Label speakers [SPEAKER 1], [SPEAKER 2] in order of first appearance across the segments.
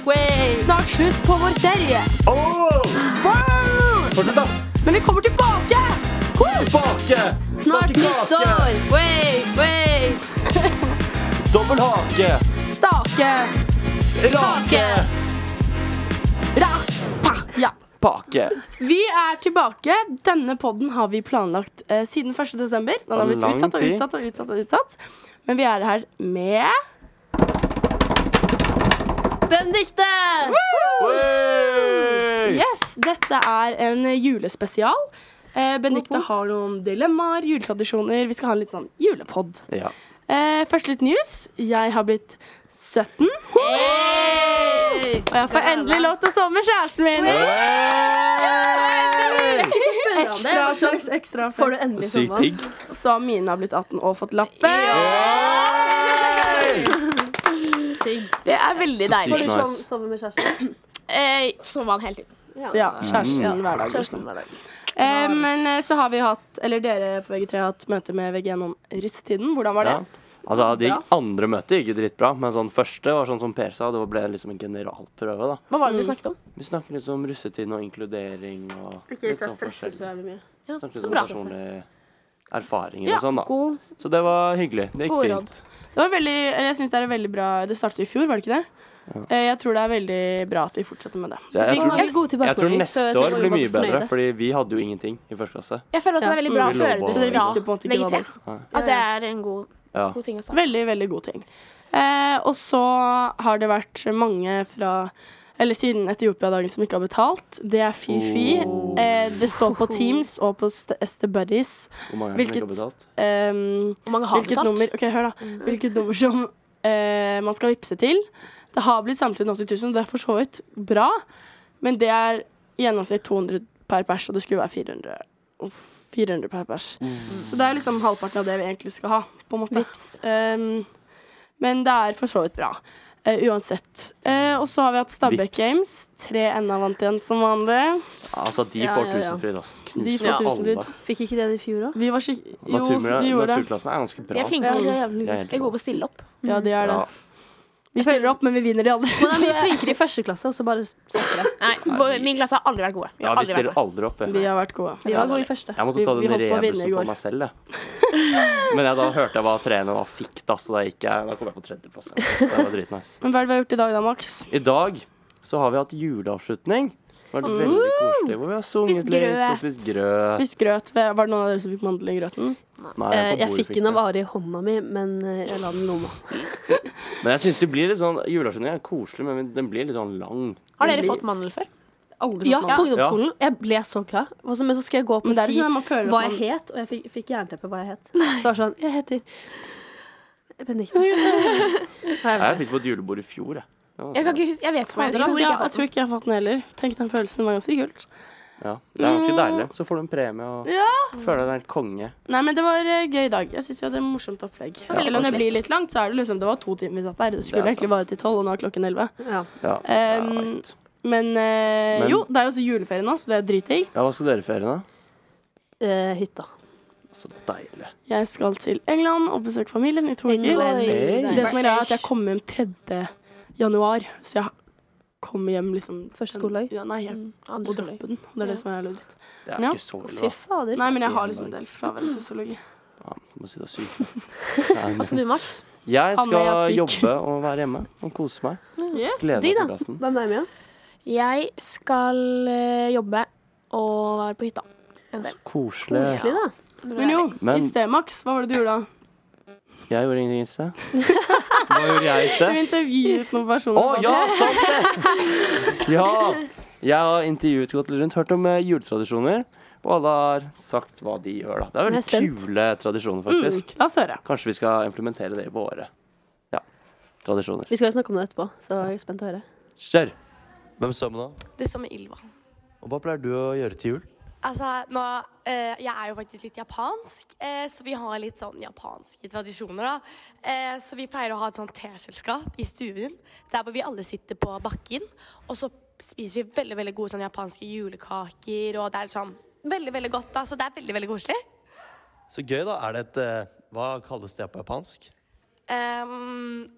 [SPEAKER 1] Snart slutt på vår serie.
[SPEAKER 2] Åh!
[SPEAKER 1] Wow!
[SPEAKER 2] Fortsett, da.
[SPEAKER 1] Men vi kommer tilbake! Woo!
[SPEAKER 2] Bake!
[SPEAKER 1] Snart
[SPEAKER 2] Bake kake!
[SPEAKER 1] nyttår! Way, way.
[SPEAKER 2] Dobbel hake!
[SPEAKER 1] Stake.
[SPEAKER 2] Rake!
[SPEAKER 1] Rappa. Ja.
[SPEAKER 2] Bake.
[SPEAKER 1] Vi er tilbake. Denne podden har vi planlagt eh, siden 1. desember. Den har
[SPEAKER 2] Og
[SPEAKER 1] blitt
[SPEAKER 2] lang
[SPEAKER 1] utsatt og
[SPEAKER 2] tid.
[SPEAKER 1] utsatt og utsatt. og utsatt. Men vi er her med
[SPEAKER 3] Benedicte!
[SPEAKER 2] Wey!
[SPEAKER 1] Yes, dette er en julespesial. Eh, Benedicte
[SPEAKER 3] Woho.
[SPEAKER 1] har noen dilemmaer, juletradisjoner. Vi skal ha en litt sånn julepod.
[SPEAKER 2] Ja.
[SPEAKER 1] Eh, først litt news. Jeg har blitt 17, og
[SPEAKER 3] Hey!
[SPEAKER 1] jeg får endelig lov til å sove med kjæresten min.
[SPEAKER 2] Wey!
[SPEAKER 1] Ekstra
[SPEAKER 3] Ekstra
[SPEAKER 1] slags ekstra
[SPEAKER 3] Får du
[SPEAKER 1] fest.
[SPEAKER 3] endelig
[SPEAKER 2] Sykt digg.
[SPEAKER 1] Så Mine har blitt 18 og fått lappen.
[SPEAKER 3] Digg.
[SPEAKER 1] Det er veldig
[SPEAKER 2] Så sykt.
[SPEAKER 1] deilig.
[SPEAKER 2] Får du sov- Nice.
[SPEAKER 3] sove med kjæresten?
[SPEAKER 1] Eh,
[SPEAKER 3] Sover han hele tiden.
[SPEAKER 1] ja,
[SPEAKER 2] Mm.
[SPEAKER 1] kjæresten hver dag. liksom. Eh, men eh, så har vi hatt, eller dere på VG3 har hatt møte med VG1 om russetiden. Hvordan var det?
[SPEAKER 2] Ja. Altså, De andre møtene gikk jo dritbra, men sånn første var sånn som Per sa, det ble liksom en generalprøve. da
[SPEAKER 1] Hva var det
[SPEAKER 3] Mm.
[SPEAKER 1] dere snakket om?
[SPEAKER 2] Vi snakker litt om russetiden og inkludering og litt sånn forskjellig.
[SPEAKER 3] jævlig mye.
[SPEAKER 1] Ja,
[SPEAKER 2] Snakker litt om
[SPEAKER 1] bra. altså.
[SPEAKER 2] personlige erfaringer
[SPEAKER 1] Ja,
[SPEAKER 2] og sånn, da.
[SPEAKER 1] god.
[SPEAKER 2] Så det var hyggelig. Det gikk
[SPEAKER 1] Gode råd.
[SPEAKER 2] fint.
[SPEAKER 1] Det var veldig, eller jeg synes det er veldig bra Det startet i fjor, var det ikke det? Eh, Jeg tror det er veldig bra at vi fortsetter med det.
[SPEAKER 2] Så jeg, jeg,
[SPEAKER 3] Sykt
[SPEAKER 2] tror,
[SPEAKER 3] mange gode
[SPEAKER 2] jeg tror
[SPEAKER 3] tilbakemeldinger, så
[SPEAKER 2] neste
[SPEAKER 3] jeg tror
[SPEAKER 2] år
[SPEAKER 3] vi
[SPEAKER 2] blir
[SPEAKER 3] var
[SPEAKER 2] mye bedre,
[SPEAKER 3] fornøyde.
[SPEAKER 2] fordi vi hadde jo ingenting i første klasse.
[SPEAKER 4] Jeg føler også det er veldig
[SPEAKER 2] Ja.
[SPEAKER 4] bra å høre
[SPEAKER 2] Vi
[SPEAKER 4] det
[SPEAKER 2] lover
[SPEAKER 4] fra
[SPEAKER 1] å- Så dere visste på en måte ikke hva
[SPEAKER 4] VG3. At det er en god,
[SPEAKER 2] Ja.
[SPEAKER 4] god ting å starte.
[SPEAKER 1] Veldig, veldig god ting. Eh, og så har det vært mange fra eller siden Etiopia-dagen som ikke har betalt. Det er fy-fy.
[SPEAKER 2] Oh.
[SPEAKER 1] Eh, det står på Teams og på Ester Buddies.
[SPEAKER 2] Hvor mange er det som ikke har
[SPEAKER 1] Hvilket-
[SPEAKER 2] betalt?
[SPEAKER 1] ehm,
[SPEAKER 4] Hvor mange har
[SPEAKER 1] Hvilket
[SPEAKER 4] betalt?
[SPEAKER 1] nummer, ok, hør da
[SPEAKER 3] Mm.
[SPEAKER 1] Hvilket nummer som eh, man skal vippse til. Det har blitt samtidig 80 000, og det er for så vidt bra. Men det er i gjennomsnitt 200 per pers, og det skulle være 400. Uff, 400 per pers.
[SPEAKER 2] Mm.
[SPEAKER 1] Så det er liksom halvparten av det vi egentlig skal ha. På en måte. Ehm, men det er for så vidt bra. eh, uansett. Eh, og så har vi hatt Stabæk
[SPEAKER 2] Vips.
[SPEAKER 1] Games. 3NA vant igjen som vanlig.
[SPEAKER 2] Altså, de
[SPEAKER 3] Ja,
[SPEAKER 2] får
[SPEAKER 3] ja, ja.
[SPEAKER 2] tusenfryd, ass.
[SPEAKER 1] De
[SPEAKER 2] Knuser
[SPEAKER 1] får tusenfryd.
[SPEAKER 2] alle.
[SPEAKER 3] Fikk ikke det i fjor òg?
[SPEAKER 1] Vi var skikk... Jo,
[SPEAKER 2] Naturmø-
[SPEAKER 1] vi gjorde det.
[SPEAKER 2] Naturklassen er ganske bra.
[SPEAKER 4] De er flinke.
[SPEAKER 1] Ja.
[SPEAKER 4] De
[SPEAKER 2] De er helt bra.
[SPEAKER 4] er gode på å stille opp.
[SPEAKER 1] Ja, de er det.
[SPEAKER 2] Ja.
[SPEAKER 1] Vi stiller opp, men vi vinner de andre.
[SPEAKER 3] Man er mye flinkere i første klasse, og så bare snakker det.
[SPEAKER 4] Nei, vår- min klasse har aldri vært gode. Vi
[SPEAKER 2] Ja,
[SPEAKER 4] har
[SPEAKER 2] vi
[SPEAKER 4] aldri vært
[SPEAKER 2] stiller
[SPEAKER 4] gode.
[SPEAKER 2] aldri opp.
[SPEAKER 1] Vi har vært gode.
[SPEAKER 3] Vi var gode i første.
[SPEAKER 2] Jeg måtte
[SPEAKER 1] Vi-
[SPEAKER 2] ta
[SPEAKER 1] vi
[SPEAKER 2] den altså.
[SPEAKER 1] holdt på å vinne
[SPEAKER 2] rebusen
[SPEAKER 1] i går.
[SPEAKER 2] for meg selv, jeg. Men jeg, da hørte jeg hva treene da fikk, da, så da, gikk jeg, da kom jeg på tredjeplass. Det var dritnice.
[SPEAKER 1] Men hva er det vi har gjort i dag da, Max?
[SPEAKER 2] I dag så har vi hatt juleavslutning. Det har vært veldig koselig. Hvor vi har sunget
[SPEAKER 4] Spist
[SPEAKER 2] litt og
[SPEAKER 4] grøt.
[SPEAKER 2] spist grøt.
[SPEAKER 1] Spist grøt. Var det noen av dere som fikk mandel i grøten?
[SPEAKER 2] Nei,
[SPEAKER 3] Eh,
[SPEAKER 2] på
[SPEAKER 3] Jeg
[SPEAKER 2] bordet
[SPEAKER 3] fikk den av
[SPEAKER 2] det.
[SPEAKER 3] Ari i hånda mi, men eh, jeg la den i lomma.
[SPEAKER 2] Men jeg synes det blir litt sånn Juleavslutning er koselig, men den blir litt sånn lang.
[SPEAKER 4] Har dere fått mandel før?
[SPEAKER 1] Aldri
[SPEAKER 3] Ja,
[SPEAKER 1] fått
[SPEAKER 3] på
[SPEAKER 1] mandel.
[SPEAKER 3] ungdomsskolen. Jeg ble så glad. Og så- Men så skulle jeg gå opp og
[SPEAKER 1] Men det er
[SPEAKER 3] si
[SPEAKER 1] ikke sånn at man føler
[SPEAKER 3] hva
[SPEAKER 1] at
[SPEAKER 3] jeg
[SPEAKER 1] man
[SPEAKER 3] het, og jeg fikk, fikk jernteppe hva jeg het. Så var det sånn Jeg heter Benedicte.
[SPEAKER 2] Jeg fikk på et julebord i fjor, jeg. Ja,
[SPEAKER 4] Jeg, kan ikke huske, jeg vet ikke. om Jeg,
[SPEAKER 1] jeg tror,
[SPEAKER 4] jeg tror ikke jeg
[SPEAKER 1] altså. jeg,
[SPEAKER 3] altså.
[SPEAKER 4] har fått den.
[SPEAKER 1] tror ikke jeg har fått den heller. Tenk den følelsen, det var ganske kult.
[SPEAKER 2] ja, det er ganske deilig. Så får du en premie og
[SPEAKER 1] Ja.
[SPEAKER 2] føler deg helt konge.
[SPEAKER 1] Nei, men det var eh, gøy i dag. Jeg syns vi hadde et morsomt opplegg. Selv om det blir litt langt, så er det liksom Det var to timer vi satt der. Det
[SPEAKER 2] Det
[SPEAKER 1] skulle
[SPEAKER 2] er
[SPEAKER 1] egentlig vare til tolv, og nå er klokken elleve.
[SPEAKER 3] Ja.
[SPEAKER 2] Ja, jeg
[SPEAKER 1] Um,
[SPEAKER 2] vet.
[SPEAKER 1] Men, eh,
[SPEAKER 2] Men-
[SPEAKER 1] jo, det er jo også juleferie nå, så det er dritdigg.
[SPEAKER 2] ja, hva skal dere i ferien, da?
[SPEAKER 3] Eh, hytta.
[SPEAKER 2] Så deilig.
[SPEAKER 1] Jeg skal til England og besøke familien i to uker.
[SPEAKER 2] Hey.
[SPEAKER 1] Det som er greia, er at jeg kommer hjem 3. januar, så jeg kommer hjem liksom
[SPEAKER 3] Første skoledag?
[SPEAKER 1] Ja, nei, jeg må
[SPEAKER 4] Andre
[SPEAKER 1] droppe den. Det er det som er litt dritt.
[SPEAKER 2] Det er
[SPEAKER 1] Ja.
[SPEAKER 2] ikke så ille,
[SPEAKER 3] Fy
[SPEAKER 2] da.
[SPEAKER 3] fader.
[SPEAKER 1] Nei, men jeg har liksom en del fravær i sosiologi.
[SPEAKER 2] Du må si det er syk. Nei,
[SPEAKER 4] Hva skal du, Max?
[SPEAKER 2] men Jeg
[SPEAKER 1] Anne,
[SPEAKER 2] skal
[SPEAKER 1] jeg er syk.
[SPEAKER 2] jobbe og være hjemme og kose meg.
[SPEAKER 1] Yes.
[SPEAKER 2] Gleder
[SPEAKER 3] Si
[SPEAKER 2] meg
[SPEAKER 3] da.
[SPEAKER 2] til julaften.
[SPEAKER 3] Hva med deg, Mia?
[SPEAKER 4] Jeg skal eh, jobbe og være på hytta. En del.
[SPEAKER 2] Koselig.
[SPEAKER 3] Koselig, da.
[SPEAKER 1] Men jo,
[SPEAKER 2] Men-
[SPEAKER 1] i sted, Max, hva var det du gjorde da?
[SPEAKER 2] Jeg gjorde ingenting i sted. Hva gjorde jeg i
[SPEAKER 1] Du
[SPEAKER 2] sted?
[SPEAKER 1] intervjuet noen
[SPEAKER 2] Å
[SPEAKER 1] personer. på
[SPEAKER 2] ja,
[SPEAKER 1] det.
[SPEAKER 2] sant det! Ja. Jeg har intervjuet gått litt rundt, hørt om eh, juletradisjoner, og alle har sagt hva de gjør, da. Det er
[SPEAKER 3] Jeg er
[SPEAKER 2] veldig
[SPEAKER 3] spent.
[SPEAKER 2] kule tradisjoner,
[SPEAKER 1] Mm,
[SPEAKER 2] faktisk.
[SPEAKER 1] la oss høre.
[SPEAKER 2] Kanskje vi skal implementere det i våre ja, tradisjoner.
[SPEAKER 3] Vi skal jo snakke om det etterpå, så jeg er spent å høre.
[SPEAKER 2] Kjør! Hvem svømmer da?
[SPEAKER 5] Du som er Ylva.
[SPEAKER 2] Og hva pleier du å gjøre til jul?
[SPEAKER 5] Altså, nå, eh, jeg er jo faktisk litt japansk, eh, så vi har litt sånn japanske tradisjoner, da. Eh, så vi pleier å ha et sånt teselskap i stuen, der hvor vi alle sitter på bakken. Og så spiser vi veldig veldig gode sånn japanske julekaker, og det er sånn veldig veldig godt, da. Så det er veldig veldig koselig.
[SPEAKER 6] Så gøy, da. Er det et eh, Hva kalles det på japansk?
[SPEAKER 5] Ehm,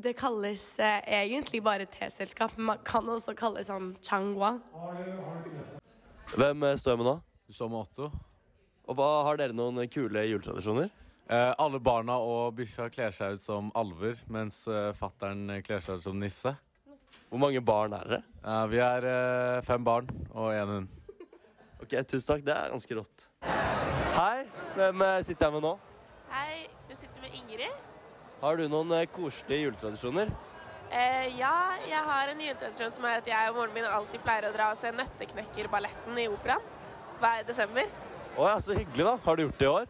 [SPEAKER 5] Det kalles eh, egentlig bare teselskap, men man kan også kalle det sånn changwa.
[SPEAKER 2] Hvem eh, står jeg med nå?
[SPEAKER 7] Du står med Otto.
[SPEAKER 2] Og hva Har dere noen eh, kule juletradisjoner?
[SPEAKER 7] Eh, alle barna og bikkja kler seg ut som alver, mens eh, fattern kler seg ut som nisse.
[SPEAKER 2] Hvor mange barn er dere?
[SPEAKER 7] Eh, vi er eh, fem barn og én hund.
[SPEAKER 2] Ok, Tusen takk. Det er ganske rått. Hei. Hvem eh, sitter jeg med nå?
[SPEAKER 1] Hei, du sitter med Ingrid.
[SPEAKER 2] Har du noen eh, koselige juletradisjoner?
[SPEAKER 1] Eh, ja, jeg har en juletradisjon som er at jeg og moren min alltid pleier å dra og se Nøtteknekkerballetten i operaen hver desember.
[SPEAKER 2] Å ja, så hyggelig, da. Har du gjort det i år?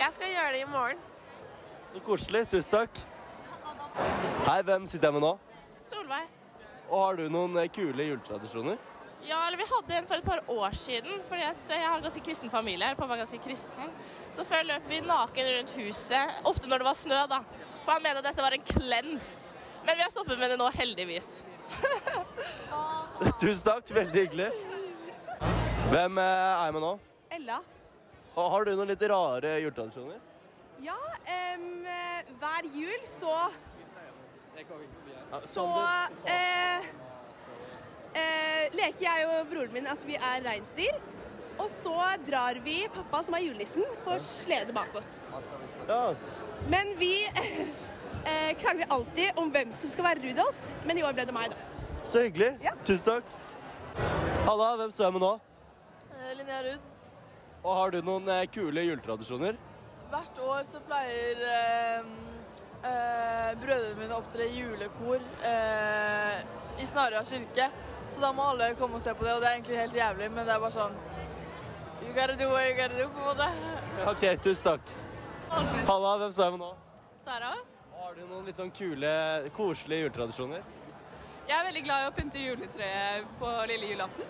[SPEAKER 1] Jeg skal gjøre det i morgen.
[SPEAKER 2] Så koselig. Tusen takk. Hei, hvem sitter jeg med nå?
[SPEAKER 1] Solveig.
[SPEAKER 2] Og har du noen eh, kule juletradisjoner?
[SPEAKER 1] Ja, eller vi hadde en for et par år siden, fordi at jeg har en ganske kristen familie. eller Pappa er ganske kristen. Så før løp vi naken rundt huset, ofte når det var snø, da. For han mente at dette var en klens. Men vi har stoppet med det nå, heldigvis.
[SPEAKER 2] Tusen takk. Veldig hyggelig. Hvem eh, er jeg med nå?
[SPEAKER 1] Ella.
[SPEAKER 2] Og Har du noen litt rare juletradisjoner?
[SPEAKER 1] Ja, hver jul så Så leker jeg og broren min at vi er reinsdyr. Og så drar vi pappa, som er julenissen, på slede bak oss.
[SPEAKER 2] Ja,
[SPEAKER 1] Men vi eh, krangler alltid om hvem som skal være Rudolf, men i år ble det meg, da.
[SPEAKER 2] Så hyggelig.
[SPEAKER 1] Ja.
[SPEAKER 2] Tusen takk. Halla, hvem står jeg med nå?
[SPEAKER 1] Eh, Linnea Ruud.
[SPEAKER 2] Og har du noen eh, kule juletradisjoner?
[SPEAKER 1] Hvert år så pleier eh, brødrene mine å opptre julekor eh, i Snarøya kirke. Så da må alle komme og se på det, og det er egentlig helt jævlig, men det er bare sånn You gotta do what you gotta do, på en måte.
[SPEAKER 2] OK, tusen takk. Halla, hvem står jeg med nå?
[SPEAKER 1] Sara?
[SPEAKER 2] Og Har du noen litt sånn kule, koselige juletradisjoner?
[SPEAKER 1] Jeg er veldig glad i å pynte juletreet på lille julaften.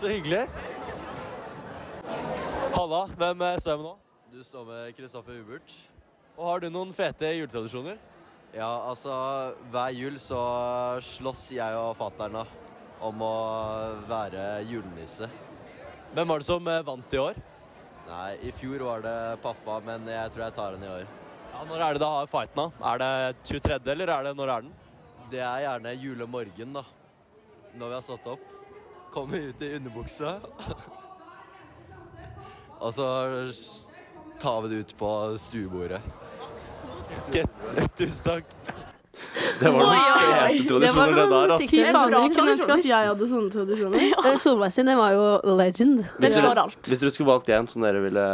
[SPEAKER 2] Så hyggelig. Halla, hvem eh, står jeg med nå? Du står med Kristoffer Hubert. Og har du noen fete juletradisjoner? Ja, altså Hver jul så slåss jeg og fatter'n om å være julenisse. Hvem var det som eh, vant i år? Nei, i fjor var det pappa, men jeg tror jeg tar den i år. Ja, Når er det da fighten, da? Er det 23., eller er det når er den? Det er gjerne julemorgen, da. Når vi har stått opp. Kommer ut i underbuksa. Og så tar vi det ut på stuebordet. Tusen takk.
[SPEAKER 8] Det var noen fete tradisjoner, det
[SPEAKER 2] altså.
[SPEAKER 8] der. ass.
[SPEAKER 9] Fy
[SPEAKER 3] sikkert
[SPEAKER 9] fader,
[SPEAKER 3] bra
[SPEAKER 9] jeg kunne ønske
[SPEAKER 3] tradisjoner.
[SPEAKER 9] at jeg hadde sånne tradisjoner.
[SPEAKER 3] Men Eh, Solveig sin, den var jo legend.
[SPEAKER 8] Hvis
[SPEAKER 4] Den
[SPEAKER 8] dere-
[SPEAKER 4] slår alt.
[SPEAKER 8] Hvis dere skulle valgt en som dere ville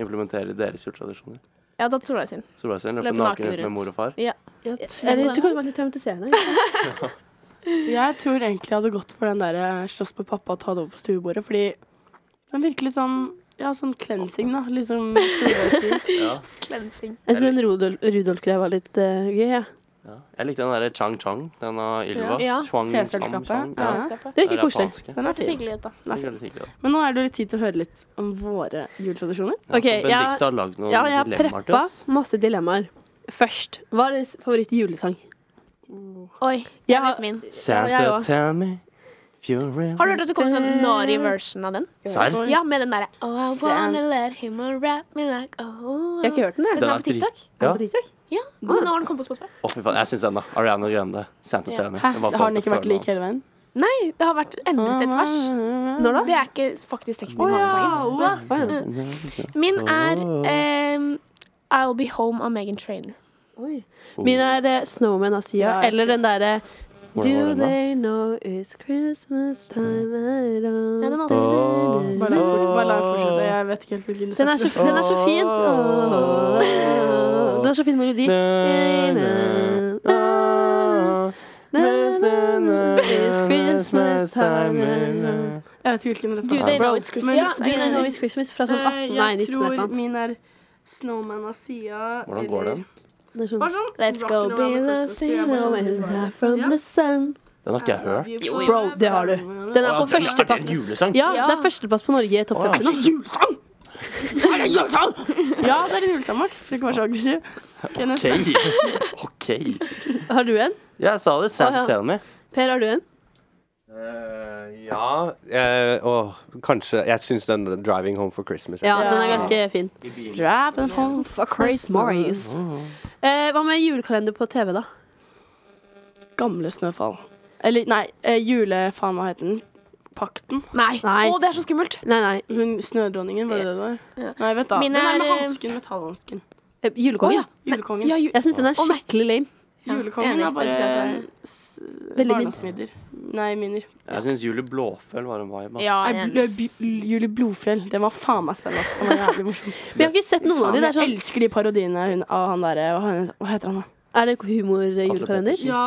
[SPEAKER 8] implementere i deres juletradisjoner
[SPEAKER 4] Jeg har tatt Solveig sin.
[SPEAKER 8] Solveig sin løpe naken rundt med mor og far.
[SPEAKER 3] Eller jeg tror kanskje det var litt traumatiserende.
[SPEAKER 9] Jeg tror egentlig jeg hadde gått for den der eh, slåss med pappa og ta det over på stuebordet, fordi den virker litt sånn ja, sånn cleansing, da. Liksom solveisdyr.
[SPEAKER 8] Ja.
[SPEAKER 4] Cleansing.
[SPEAKER 3] Jeg syns den Rudolf- Rudolf-greia var litt eh, gøy. Ja.
[SPEAKER 8] Ja. Jeg likte den derre Chang Chang, den av Ylva.
[SPEAKER 4] Ja.
[SPEAKER 8] Chang,
[SPEAKER 9] Teselskapet.
[SPEAKER 8] Chang,
[SPEAKER 9] Ja.
[SPEAKER 8] sånn Ja.
[SPEAKER 3] Det virker
[SPEAKER 8] Den
[SPEAKER 3] koselig.
[SPEAKER 8] japanske.
[SPEAKER 9] Den er
[SPEAKER 4] Hørtes
[SPEAKER 9] fin.
[SPEAKER 4] hyggelig ut, da.
[SPEAKER 8] Den er veldig hyggelig, da.
[SPEAKER 9] Men nå er det litt tid til å høre litt om våre juletradisjoner.
[SPEAKER 8] Ja,
[SPEAKER 3] Ok,
[SPEAKER 8] for Benedicte
[SPEAKER 3] jeg-
[SPEAKER 8] har lagd noen
[SPEAKER 3] Ja, jeg har
[SPEAKER 8] dilemmaer til
[SPEAKER 3] preppa
[SPEAKER 8] oss.
[SPEAKER 3] masse dilemmaer. Først, hva er deres favorittjulesang?
[SPEAKER 4] Oi,
[SPEAKER 3] Jeg
[SPEAKER 4] jeg
[SPEAKER 3] har-
[SPEAKER 4] vet min.
[SPEAKER 8] Santa,
[SPEAKER 3] jeg òg.
[SPEAKER 8] tell me if you're real.
[SPEAKER 4] Har du hørt at det kommer
[SPEAKER 3] Eh.
[SPEAKER 4] en sånn naughty version av den?
[SPEAKER 8] Serr?
[SPEAKER 4] Ja, med den derre Oh, I
[SPEAKER 3] Sam.
[SPEAKER 4] wanna let him wrap me like oh.
[SPEAKER 3] Jeg har ikke hørt den, jeg.
[SPEAKER 4] Den
[SPEAKER 8] Den
[SPEAKER 4] er
[SPEAKER 8] er
[SPEAKER 4] på TikTok?
[SPEAKER 8] Ja.
[SPEAKER 3] På TikTok? Ah.
[SPEAKER 4] Ja. Men nå har den kommet på Spotify.
[SPEAKER 8] Å, fy faen. Jeg syns den, da. Ariana Grande. Santa,
[SPEAKER 4] Ja.
[SPEAKER 8] tell me.
[SPEAKER 9] Hæ?
[SPEAKER 8] Jeg bare
[SPEAKER 9] Har
[SPEAKER 8] får
[SPEAKER 9] den ikke vært
[SPEAKER 8] føle
[SPEAKER 9] lik hele veien?
[SPEAKER 4] Nei, det har vært endret et vers.
[SPEAKER 3] Når da?
[SPEAKER 4] Det er ikke faktisk teksten i
[SPEAKER 9] Ja,
[SPEAKER 4] vanlig
[SPEAKER 9] Ola.
[SPEAKER 3] Å,
[SPEAKER 8] noe.
[SPEAKER 4] Min er ehm, I'll Be Home av Megan Trainor.
[SPEAKER 3] ja. Oi. Min er eh, Snowman av Sia,
[SPEAKER 9] Ja, jeg
[SPEAKER 3] eller den derre
[SPEAKER 8] Hvordan var
[SPEAKER 3] Do
[SPEAKER 8] den da?
[SPEAKER 3] they know it's Christmas time at all?
[SPEAKER 4] Ja, den er også-
[SPEAKER 8] Åh.
[SPEAKER 9] Bare la den fort- bare la den fortsette. Jeg vet ikke helt hvilken du
[SPEAKER 3] Den er så,
[SPEAKER 9] setter.
[SPEAKER 3] den er så fin. Åh. Den er så fin melodi. It's Christmas time and-
[SPEAKER 9] Jeg vet ikke hvilken rett
[SPEAKER 4] Do
[SPEAKER 9] det
[SPEAKER 4] they
[SPEAKER 9] er.
[SPEAKER 4] know it's Christmas?
[SPEAKER 9] Men-
[SPEAKER 3] Ja, Do They Know It's Christmas fra sånn 18,
[SPEAKER 9] Eh,
[SPEAKER 3] nei,
[SPEAKER 9] Jeg
[SPEAKER 3] 19 eller
[SPEAKER 9] tror
[SPEAKER 3] noe.
[SPEAKER 9] min er Snowman av Sia.
[SPEAKER 8] Hvordan går
[SPEAKER 9] eller-
[SPEAKER 8] den?
[SPEAKER 3] Det er sånn-
[SPEAKER 9] Bare sånn.
[SPEAKER 4] Let's
[SPEAKER 9] rock
[SPEAKER 4] go
[SPEAKER 9] and roll
[SPEAKER 4] be
[SPEAKER 9] and
[SPEAKER 4] the
[SPEAKER 9] Christmas, tror jeg bare
[SPEAKER 3] Zero
[SPEAKER 9] sånn
[SPEAKER 3] and
[SPEAKER 1] liksom.
[SPEAKER 9] det
[SPEAKER 3] half
[SPEAKER 9] var.
[SPEAKER 3] from
[SPEAKER 9] Ja.
[SPEAKER 3] the sun.
[SPEAKER 8] Den har ikke jeg hørt.
[SPEAKER 9] Jo,
[SPEAKER 3] Bro, det har du. Den er
[SPEAKER 8] Å,
[SPEAKER 3] på
[SPEAKER 8] ja, den-
[SPEAKER 3] førsteplass.
[SPEAKER 8] Er det en julesang?
[SPEAKER 3] Ja,
[SPEAKER 4] Ja.
[SPEAKER 3] det er førsteplass på Norge i topp 50
[SPEAKER 9] Ja, det
[SPEAKER 3] nå.
[SPEAKER 9] er en julesang, Max. Du kan være så aggressiv. Ok, neste.
[SPEAKER 8] OK. OK.
[SPEAKER 3] Har du en?
[SPEAKER 8] Jeg sa det. Santa,
[SPEAKER 3] Å, ja.
[SPEAKER 8] tell me.
[SPEAKER 3] Per, har du en?
[SPEAKER 10] ja eh, åh, Kanskje Jeg syns den 'Driving Home for Christmas'
[SPEAKER 3] Ja, den er ganske fin.
[SPEAKER 9] Driving home for Christmas.
[SPEAKER 3] Eh, hva med julekalender på TV, da?
[SPEAKER 1] Gamle Snøfall. Eller nei, eh, jule... Faen, hva heter den? Pakten?
[SPEAKER 4] Nei.
[SPEAKER 3] Nei.
[SPEAKER 4] Å, det er så skummelt.
[SPEAKER 3] Nei, nei.
[SPEAKER 1] Hun snødronningen, var det det det var?
[SPEAKER 4] Ja.
[SPEAKER 1] Nei, vet da.
[SPEAKER 4] Min
[SPEAKER 1] den
[SPEAKER 4] er,
[SPEAKER 1] der med
[SPEAKER 4] eh,
[SPEAKER 1] hansken, metallhansken.
[SPEAKER 3] Eh, Julekongen.
[SPEAKER 1] Julekongen.
[SPEAKER 4] Ja, ju
[SPEAKER 3] Jeg syns den er
[SPEAKER 4] Å, nei.
[SPEAKER 3] skikkelig lame.
[SPEAKER 1] Julekongen
[SPEAKER 4] Enig,
[SPEAKER 1] er bare
[SPEAKER 4] det synes jeg
[SPEAKER 1] s-
[SPEAKER 3] Veldig
[SPEAKER 1] barndomsmidder. Nei, minner.
[SPEAKER 2] Jeg syns Julie Blåføl var en vibe. ass.
[SPEAKER 1] Nei,
[SPEAKER 4] ja, enig.
[SPEAKER 1] bl- bl- Julie Blodfjell. Den var faen meg spennende. ass. Den var jævlig morsom.
[SPEAKER 3] Men jeg har ikke sett noen av
[SPEAKER 1] Faen,
[SPEAKER 3] de. Det
[SPEAKER 1] jeg
[SPEAKER 3] er, sånn,
[SPEAKER 1] elsker de parodiene hun, av han derre hva, han- hva heter han, da?
[SPEAKER 3] er det humorjulekalender?
[SPEAKER 1] Ja.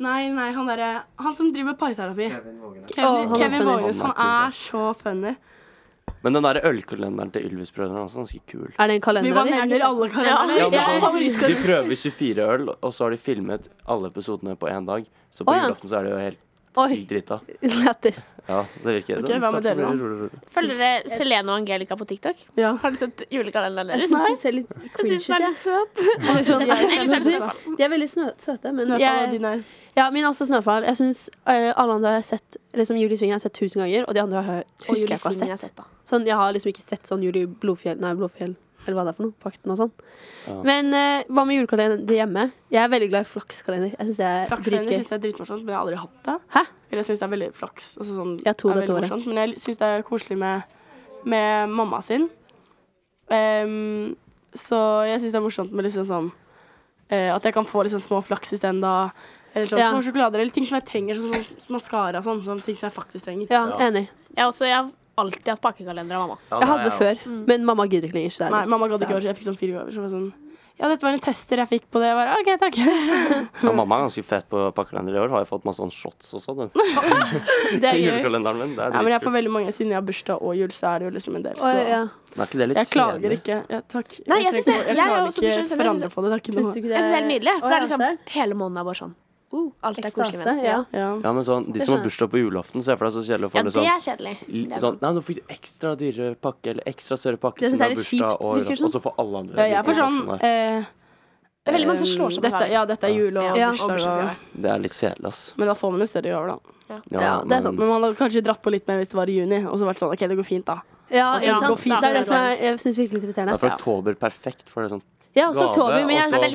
[SPEAKER 1] Nei, nei, han derre Han som driver med parterapi.
[SPEAKER 3] Å,
[SPEAKER 1] Kevin,
[SPEAKER 3] han er
[SPEAKER 1] Kevin
[SPEAKER 3] funny.
[SPEAKER 1] Vågenes. Han er så funny.
[SPEAKER 2] Men den der ølkalenderen til Ylvis-brødrene er også ganske kul.
[SPEAKER 3] Er det en
[SPEAKER 1] Vi
[SPEAKER 3] kalender
[SPEAKER 1] bare
[SPEAKER 3] av de?
[SPEAKER 1] nevner alle karakterene.
[SPEAKER 2] Ja, men
[SPEAKER 3] jeg-
[SPEAKER 2] sånn, de
[SPEAKER 1] favorittkalender.
[SPEAKER 2] prøver 24 øl, og så har de filmet alle episodene på én dag. Så på
[SPEAKER 3] Å, ja.
[SPEAKER 2] julaften så er det jo helt
[SPEAKER 3] Oi.
[SPEAKER 2] sykt drita.
[SPEAKER 3] Lættis.
[SPEAKER 2] Ja, det virker
[SPEAKER 1] Ok,
[SPEAKER 2] sånn.
[SPEAKER 1] hva med
[SPEAKER 2] sakte,
[SPEAKER 1] dere da?
[SPEAKER 2] rolig, rolig, rolig.
[SPEAKER 4] Følger dere Selene og Angelica på TikTok?
[SPEAKER 1] Ja.
[SPEAKER 4] Har dere sett julekalenderen
[SPEAKER 3] Jeg
[SPEAKER 4] deres?
[SPEAKER 3] syns den ser litt cringe ut, jeg.
[SPEAKER 4] søt.
[SPEAKER 3] Eller sånn-
[SPEAKER 4] Jeg synes den er søt.
[SPEAKER 3] De er veldig snø, søte, men
[SPEAKER 1] Snøfall og
[SPEAKER 3] jeg,
[SPEAKER 1] din er
[SPEAKER 3] ja, min er også snøfall. Jeg syns eh, alle andre har jeg sett Liksom Julie Svingen har jeg sett tusen ganger, og de andre har,
[SPEAKER 4] Og
[SPEAKER 3] husker jeg ikke å ha
[SPEAKER 4] julesvingen jeg
[SPEAKER 3] sett.
[SPEAKER 4] sett på.
[SPEAKER 3] Sånn, jeg har liksom ikke sett sånn Julie Blodfjell, nei, Blåfjell, eller hva det er for noe, Pakten og sånn.
[SPEAKER 2] Ja.
[SPEAKER 3] Men eh, hva med julekalender hjemme? Jeg er veldig glad i flakskalender. Jeg syns det er
[SPEAKER 1] Flaksregner
[SPEAKER 3] dritgøy.
[SPEAKER 1] syns jeg er dritmorsomt, men jeg har aldri hatt det.
[SPEAKER 3] Hæ?
[SPEAKER 1] Eller jeg syns det er veldig flaks. Altså sånn,
[SPEAKER 3] Jeg har to
[SPEAKER 1] er
[SPEAKER 3] dette
[SPEAKER 1] veldig
[SPEAKER 3] året.
[SPEAKER 1] morsomt, Men jeg syns det er koselig med, med mamma sin. Ehm, så jeg syns det er morsomt med liksom sånn eh, At jeg kan få liksom små flaks isteden da. Eller sånn,
[SPEAKER 3] Ja.
[SPEAKER 1] små sjokolader eller ting som jeg trenger. Sånn som maskara og sånn. sånn Ting som jeg faktisk trenger.
[SPEAKER 3] Ja, enig.
[SPEAKER 4] Jeg, også, jeg har alltid hatt pakkekalender av mamma.
[SPEAKER 2] Ja,
[SPEAKER 3] Jeg
[SPEAKER 2] nei,
[SPEAKER 3] hadde det
[SPEAKER 2] ja.
[SPEAKER 3] før,
[SPEAKER 4] Mm.
[SPEAKER 3] men mamma gidder ikke lenger. Så det er
[SPEAKER 1] Nei,
[SPEAKER 3] litt
[SPEAKER 1] mamma gadd ikke
[SPEAKER 3] sad.
[SPEAKER 1] over, så jeg fikk sånn fire gaver. Så var det sånn ja, dette var en tester jeg fikk på det. Jeg bare, ok, takk.
[SPEAKER 2] Ja, mamma er ganske fett på pakkekalender i år. Har jeg fått masse sånn shots og sånn.
[SPEAKER 1] Det er gøy.
[SPEAKER 2] Julekalenderen min. Det er
[SPEAKER 1] Nei, men jeg får
[SPEAKER 2] dritkult.
[SPEAKER 1] veldig mange Siden jeg har bursdag og jul, så er det jo liksom en del. Så.
[SPEAKER 3] Oi, ja.
[SPEAKER 2] Men er ikke det litt
[SPEAKER 1] Jeg klager
[SPEAKER 2] kjedelig?
[SPEAKER 1] ikke. Ja, takk.
[SPEAKER 4] Nei, jeg
[SPEAKER 1] trenger
[SPEAKER 4] synes det-
[SPEAKER 1] ikke-
[SPEAKER 4] jeg er
[SPEAKER 1] klarer ikke
[SPEAKER 4] også bekymret, men jeg synes
[SPEAKER 1] forandre på det. Det er ikke
[SPEAKER 3] Syns
[SPEAKER 1] noe
[SPEAKER 3] du ikke
[SPEAKER 4] Jeg synes det er helt nydelig.
[SPEAKER 3] Å,
[SPEAKER 4] For det er
[SPEAKER 3] ja,
[SPEAKER 4] liksom,
[SPEAKER 3] ser.
[SPEAKER 4] hele måneden er bare sånn. Uh, alt er koselig med
[SPEAKER 3] Ekstase.
[SPEAKER 4] det.
[SPEAKER 3] Ja.
[SPEAKER 1] Ja.
[SPEAKER 2] Ja, men sånn, De som har
[SPEAKER 3] skjønner jeg.
[SPEAKER 2] bursdag på julaften, ser for deg så kjedelig å få
[SPEAKER 4] Ja,
[SPEAKER 2] det
[SPEAKER 4] det
[SPEAKER 2] sånn,
[SPEAKER 4] er kjedelig. Det
[SPEAKER 2] l-
[SPEAKER 4] er
[SPEAKER 2] sånn Nei, nå fikk du ekstra dyrere pakke, eller ekstra større pakke,
[SPEAKER 3] Det
[SPEAKER 2] siden
[SPEAKER 3] synes
[SPEAKER 2] du har
[SPEAKER 3] jeg er litt
[SPEAKER 2] bursdag,
[SPEAKER 3] kjipt,
[SPEAKER 2] og,
[SPEAKER 3] virker det
[SPEAKER 2] og så får alle andre
[SPEAKER 1] Ja, jeg er for
[SPEAKER 2] like
[SPEAKER 1] sånn
[SPEAKER 2] pakken der.
[SPEAKER 1] eh,
[SPEAKER 4] Det er veldig mange som slår seg på
[SPEAKER 1] dette,
[SPEAKER 4] hverandre.
[SPEAKER 1] Ja, dette er jul og
[SPEAKER 4] Ja, og
[SPEAKER 1] bursdag.
[SPEAKER 4] bursdagsgave.
[SPEAKER 1] og-
[SPEAKER 2] Det er litt kjedelig, ass.
[SPEAKER 1] Men da får man jo større gaver, da.
[SPEAKER 3] Ja, det er sant.
[SPEAKER 1] Men man hadde kanskje dratt på litt mer hvis det var i juni, og så vært sånn OK, det går fint, da.
[SPEAKER 3] Ja,
[SPEAKER 1] Ok,
[SPEAKER 3] ikke
[SPEAKER 1] det går
[SPEAKER 3] sant?
[SPEAKER 1] fint.
[SPEAKER 3] Det er det som er, jeg syns virkelig irriterende.
[SPEAKER 2] Derfor er oktober perfekt. For det er sånn
[SPEAKER 3] Ja, også
[SPEAKER 2] gave,
[SPEAKER 3] oktober, men jeg,
[SPEAKER 2] og så
[SPEAKER 3] nei,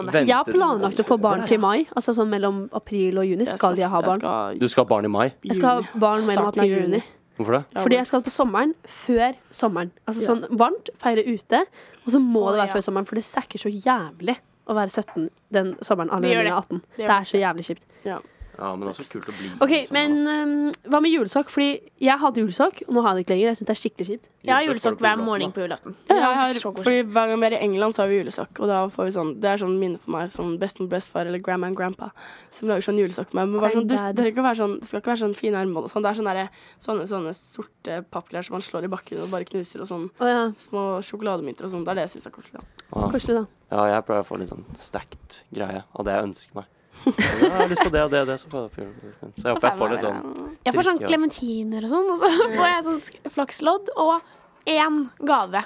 [SPEAKER 3] nei,
[SPEAKER 2] venter
[SPEAKER 3] jeg har
[SPEAKER 2] du
[SPEAKER 3] planlagt å
[SPEAKER 2] til
[SPEAKER 3] få barn
[SPEAKER 2] oktober,
[SPEAKER 3] til mai. Altså sånn mellom april og juni skal jeg ha barn.
[SPEAKER 1] skal,
[SPEAKER 2] Du skal ha barn i mai?
[SPEAKER 3] Jeg skal ha barn mellom
[SPEAKER 1] Starten av
[SPEAKER 3] april og
[SPEAKER 1] juni.
[SPEAKER 3] juni.
[SPEAKER 2] Hvorfor det?
[SPEAKER 1] Ja,
[SPEAKER 3] Fordi
[SPEAKER 1] men-
[SPEAKER 3] jeg skal på sommeren før sommeren. Altså sånn varmt, feire ute, og så må
[SPEAKER 4] Å,
[SPEAKER 3] det være
[SPEAKER 4] ja.
[SPEAKER 3] før sommeren, for det sækker så jævlig å være 17 den sommeren
[SPEAKER 4] Det gjør
[SPEAKER 3] allerede
[SPEAKER 4] det.
[SPEAKER 3] er 18.
[SPEAKER 4] gjør
[SPEAKER 3] Det er så jævlig kjipt.
[SPEAKER 2] Ja, men det er også kult å bli liksom,
[SPEAKER 3] OK, men øhm, hva med julesokk? Fordi jeg hadde julesokk, og nå har jeg det ikke lenger. Jeg syns det er skikkelig kjipt.
[SPEAKER 4] Jeg har julesokk hver morgen på julaften.
[SPEAKER 1] Ja, jeg har,
[SPEAKER 4] Så koselig.
[SPEAKER 1] fordi Hver gang vi er i England, så har vi julesokk. Og da får vi sånn, Det er sånn minne for meg. Sånn Bestemor, bestefar eller grandma and grandpa som lager sånn julesokk med meg. Men bare sånn, du, det,
[SPEAKER 3] Granddad.
[SPEAKER 1] trenger ikke å være sånn, det skal ikke være sånn fine armbånd. og Sånn. Det er sånne, derre- sånne, sånne sorte pappklær som man slår i bakken og bare knuser, og sånn
[SPEAKER 3] Å ja,
[SPEAKER 1] små sjokolademynter og sånn. Det er det jeg syns er koselig. da.
[SPEAKER 2] Ja.
[SPEAKER 3] koselig, da.
[SPEAKER 2] ja, jeg pleier å få litt sånn stacked greie av det jeg ønsker meg. Ja, jeg har lyst på det og det og det, så får jeg opp- Så jeg håper jeg får litt sånn
[SPEAKER 4] Jeg får sånn
[SPEAKER 2] Drikke, ja.
[SPEAKER 4] klementiner og sånn, og så får jeg sånn sk- flakslodd og én gave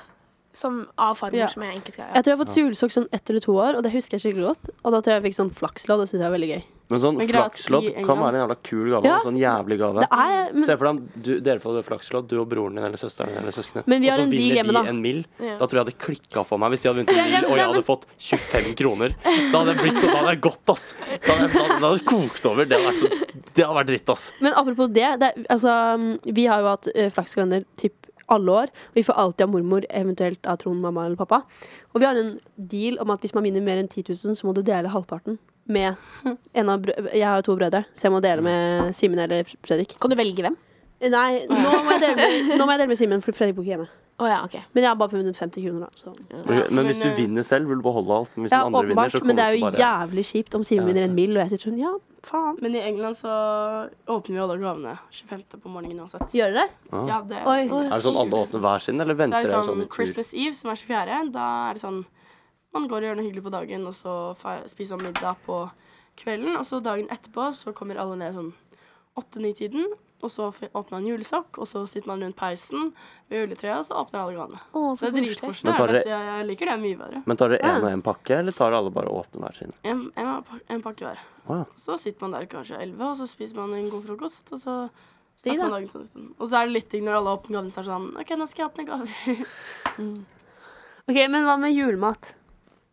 [SPEAKER 4] som av farmor
[SPEAKER 1] Ja.
[SPEAKER 4] som jeg ikke skal ha.
[SPEAKER 3] Jeg tror jeg har fått julesokk sånn ett eller to år, og det husker jeg skikkelig godt. Og da tror jeg jeg fikk sånn flakslodd, og det syns jeg var veldig gøy.
[SPEAKER 2] Men sånn
[SPEAKER 1] Men greit,
[SPEAKER 2] flakslodd
[SPEAKER 1] i
[SPEAKER 2] kan
[SPEAKER 1] England-
[SPEAKER 2] være en jævla kul gave.
[SPEAKER 3] Ja.
[SPEAKER 2] og Sånn jævlig gave.
[SPEAKER 3] Det er, men,
[SPEAKER 2] Se for deg om du, dere får flakslodd, du og broren din eller søsteren din eller søskenet.
[SPEAKER 3] Men vi har
[SPEAKER 2] og så
[SPEAKER 3] en deal
[SPEAKER 2] vinner
[SPEAKER 3] hjemme,
[SPEAKER 2] de
[SPEAKER 3] da.
[SPEAKER 2] en mill.
[SPEAKER 4] Ja.
[SPEAKER 2] Da tror jeg det klikka for meg hvis de hadde vunnet en
[SPEAKER 3] ja,
[SPEAKER 2] mill og jeg
[SPEAKER 3] men-
[SPEAKER 2] hadde fått 25 kroner. Da hadde jeg blitt sånn, da hadde jeg gått, ass. Da hadde jeg, da, da hadde jeg kokt over. Det hadde vært, så, det hadde vært dritt, ass.
[SPEAKER 3] men apropos det, det er, altså, mm, vi har jo hatt eh, flakskalender typ alle år. Og vi får alltid av mormor, eventuelt av Trond, mamma eller pappa. Og vi har en deal om at hvis man vinner mer enn 10 000, så må du dele halvparten med en av brø Jeg har jo to brødre, så jeg må dele med Simen eller Fredrik.
[SPEAKER 4] Kan du velge hvem?
[SPEAKER 3] Eh, Nei, nå må jeg dele med, nå må jeg dele med Simen, for Fredrik bor ikke hjemme.
[SPEAKER 4] Å ja, OK.
[SPEAKER 3] Men jeg har bare vunnet 50 kroner, da. Så.
[SPEAKER 2] Men, men hvis du
[SPEAKER 1] Men, eh,
[SPEAKER 2] vinner selv, vil du beholde alt. Men hvis
[SPEAKER 3] Ja,
[SPEAKER 2] den andre vinner,
[SPEAKER 3] åpenbart.
[SPEAKER 2] så
[SPEAKER 3] Men
[SPEAKER 2] kommer
[SPEAKER 3] det er
[SPEAKER 2] du
[SPEAKER 3] jo
[SPEAKER 2] til bare
[SPEAKER 3] jævlig kjipt om Simen
[SPEAKER 2] Jeg vet
[SPEAKER 3] vinner en mill, og jeg sitter sånn ja, faen.
[SPEAKER 1] Men i England så åpner vi alle gavene 25. på morgenen uansett.
[SPEAKER 3] Gjør dere det?
[SPEAKER 1] Ja, det
[SPEAKER 3] Oi.
[SPEAKER 2] Er det sånn alle åpner hver sin, eller
[SPEAKER 1] Så er
[SPEAKER 2] venter
[SPEAKER 1] det
[SPEAKER 2] dere
[SPEAKER 1] sånn
[SPEAKER 2] sånn i tur?
[SPEAKER 1] Christmas Eve, som er 24. Da er det sånn Man går og gjør noe hyggelig på dagen, og så fe- spiser man middag på kvelden. Og så dagen etterpå så kommer alle ned sånn 8-9-tiden. Og så f- åpner man julesokk, og så sitter man rundt peisen ved juletreet, og så åpner alle gavene.
[SPEAKER 4] Å,
[SPEAKER 1] Så
[SPEAKER 4] så
[SPEAKER 1] det er
[SPEAKER 4] koselig.
[SPEAKER 1] dritkoselig.
[SPEAKER 2] Men
[SPEAKER 1] Det
[SPEAKER 2] tar
[SPEAKER 1] er
[SPEAKER 2] dere-
[SPEAKER 1] best. Jeg jeg liker det mye bedre.
[SPEAKER 2] Men tar dere
[SPEAKER 3] Ja.
[SPEAKER 2] én og én pakke, eller tar alle bare og åpner hver sin?
[SPEAKER 1] En, en, pak- en pakke hver.
[SPEAKER 2] Wow.
[SPEAKER 1] Så sitter man der kanskje 11, og så spiser man en god frokost, og så
[SPEAKER 3] Digg,
[SPEAKER 1] snakker
[SPEAKER 3] da.
[SPEAKER 1] man dagen sånn en stund. Og så er det litt digg når alle åpner gavene, så er det sånn OK, nå skal jeg åpne gaver.
[SPEAKER 3] Ok, Men hva med julemat?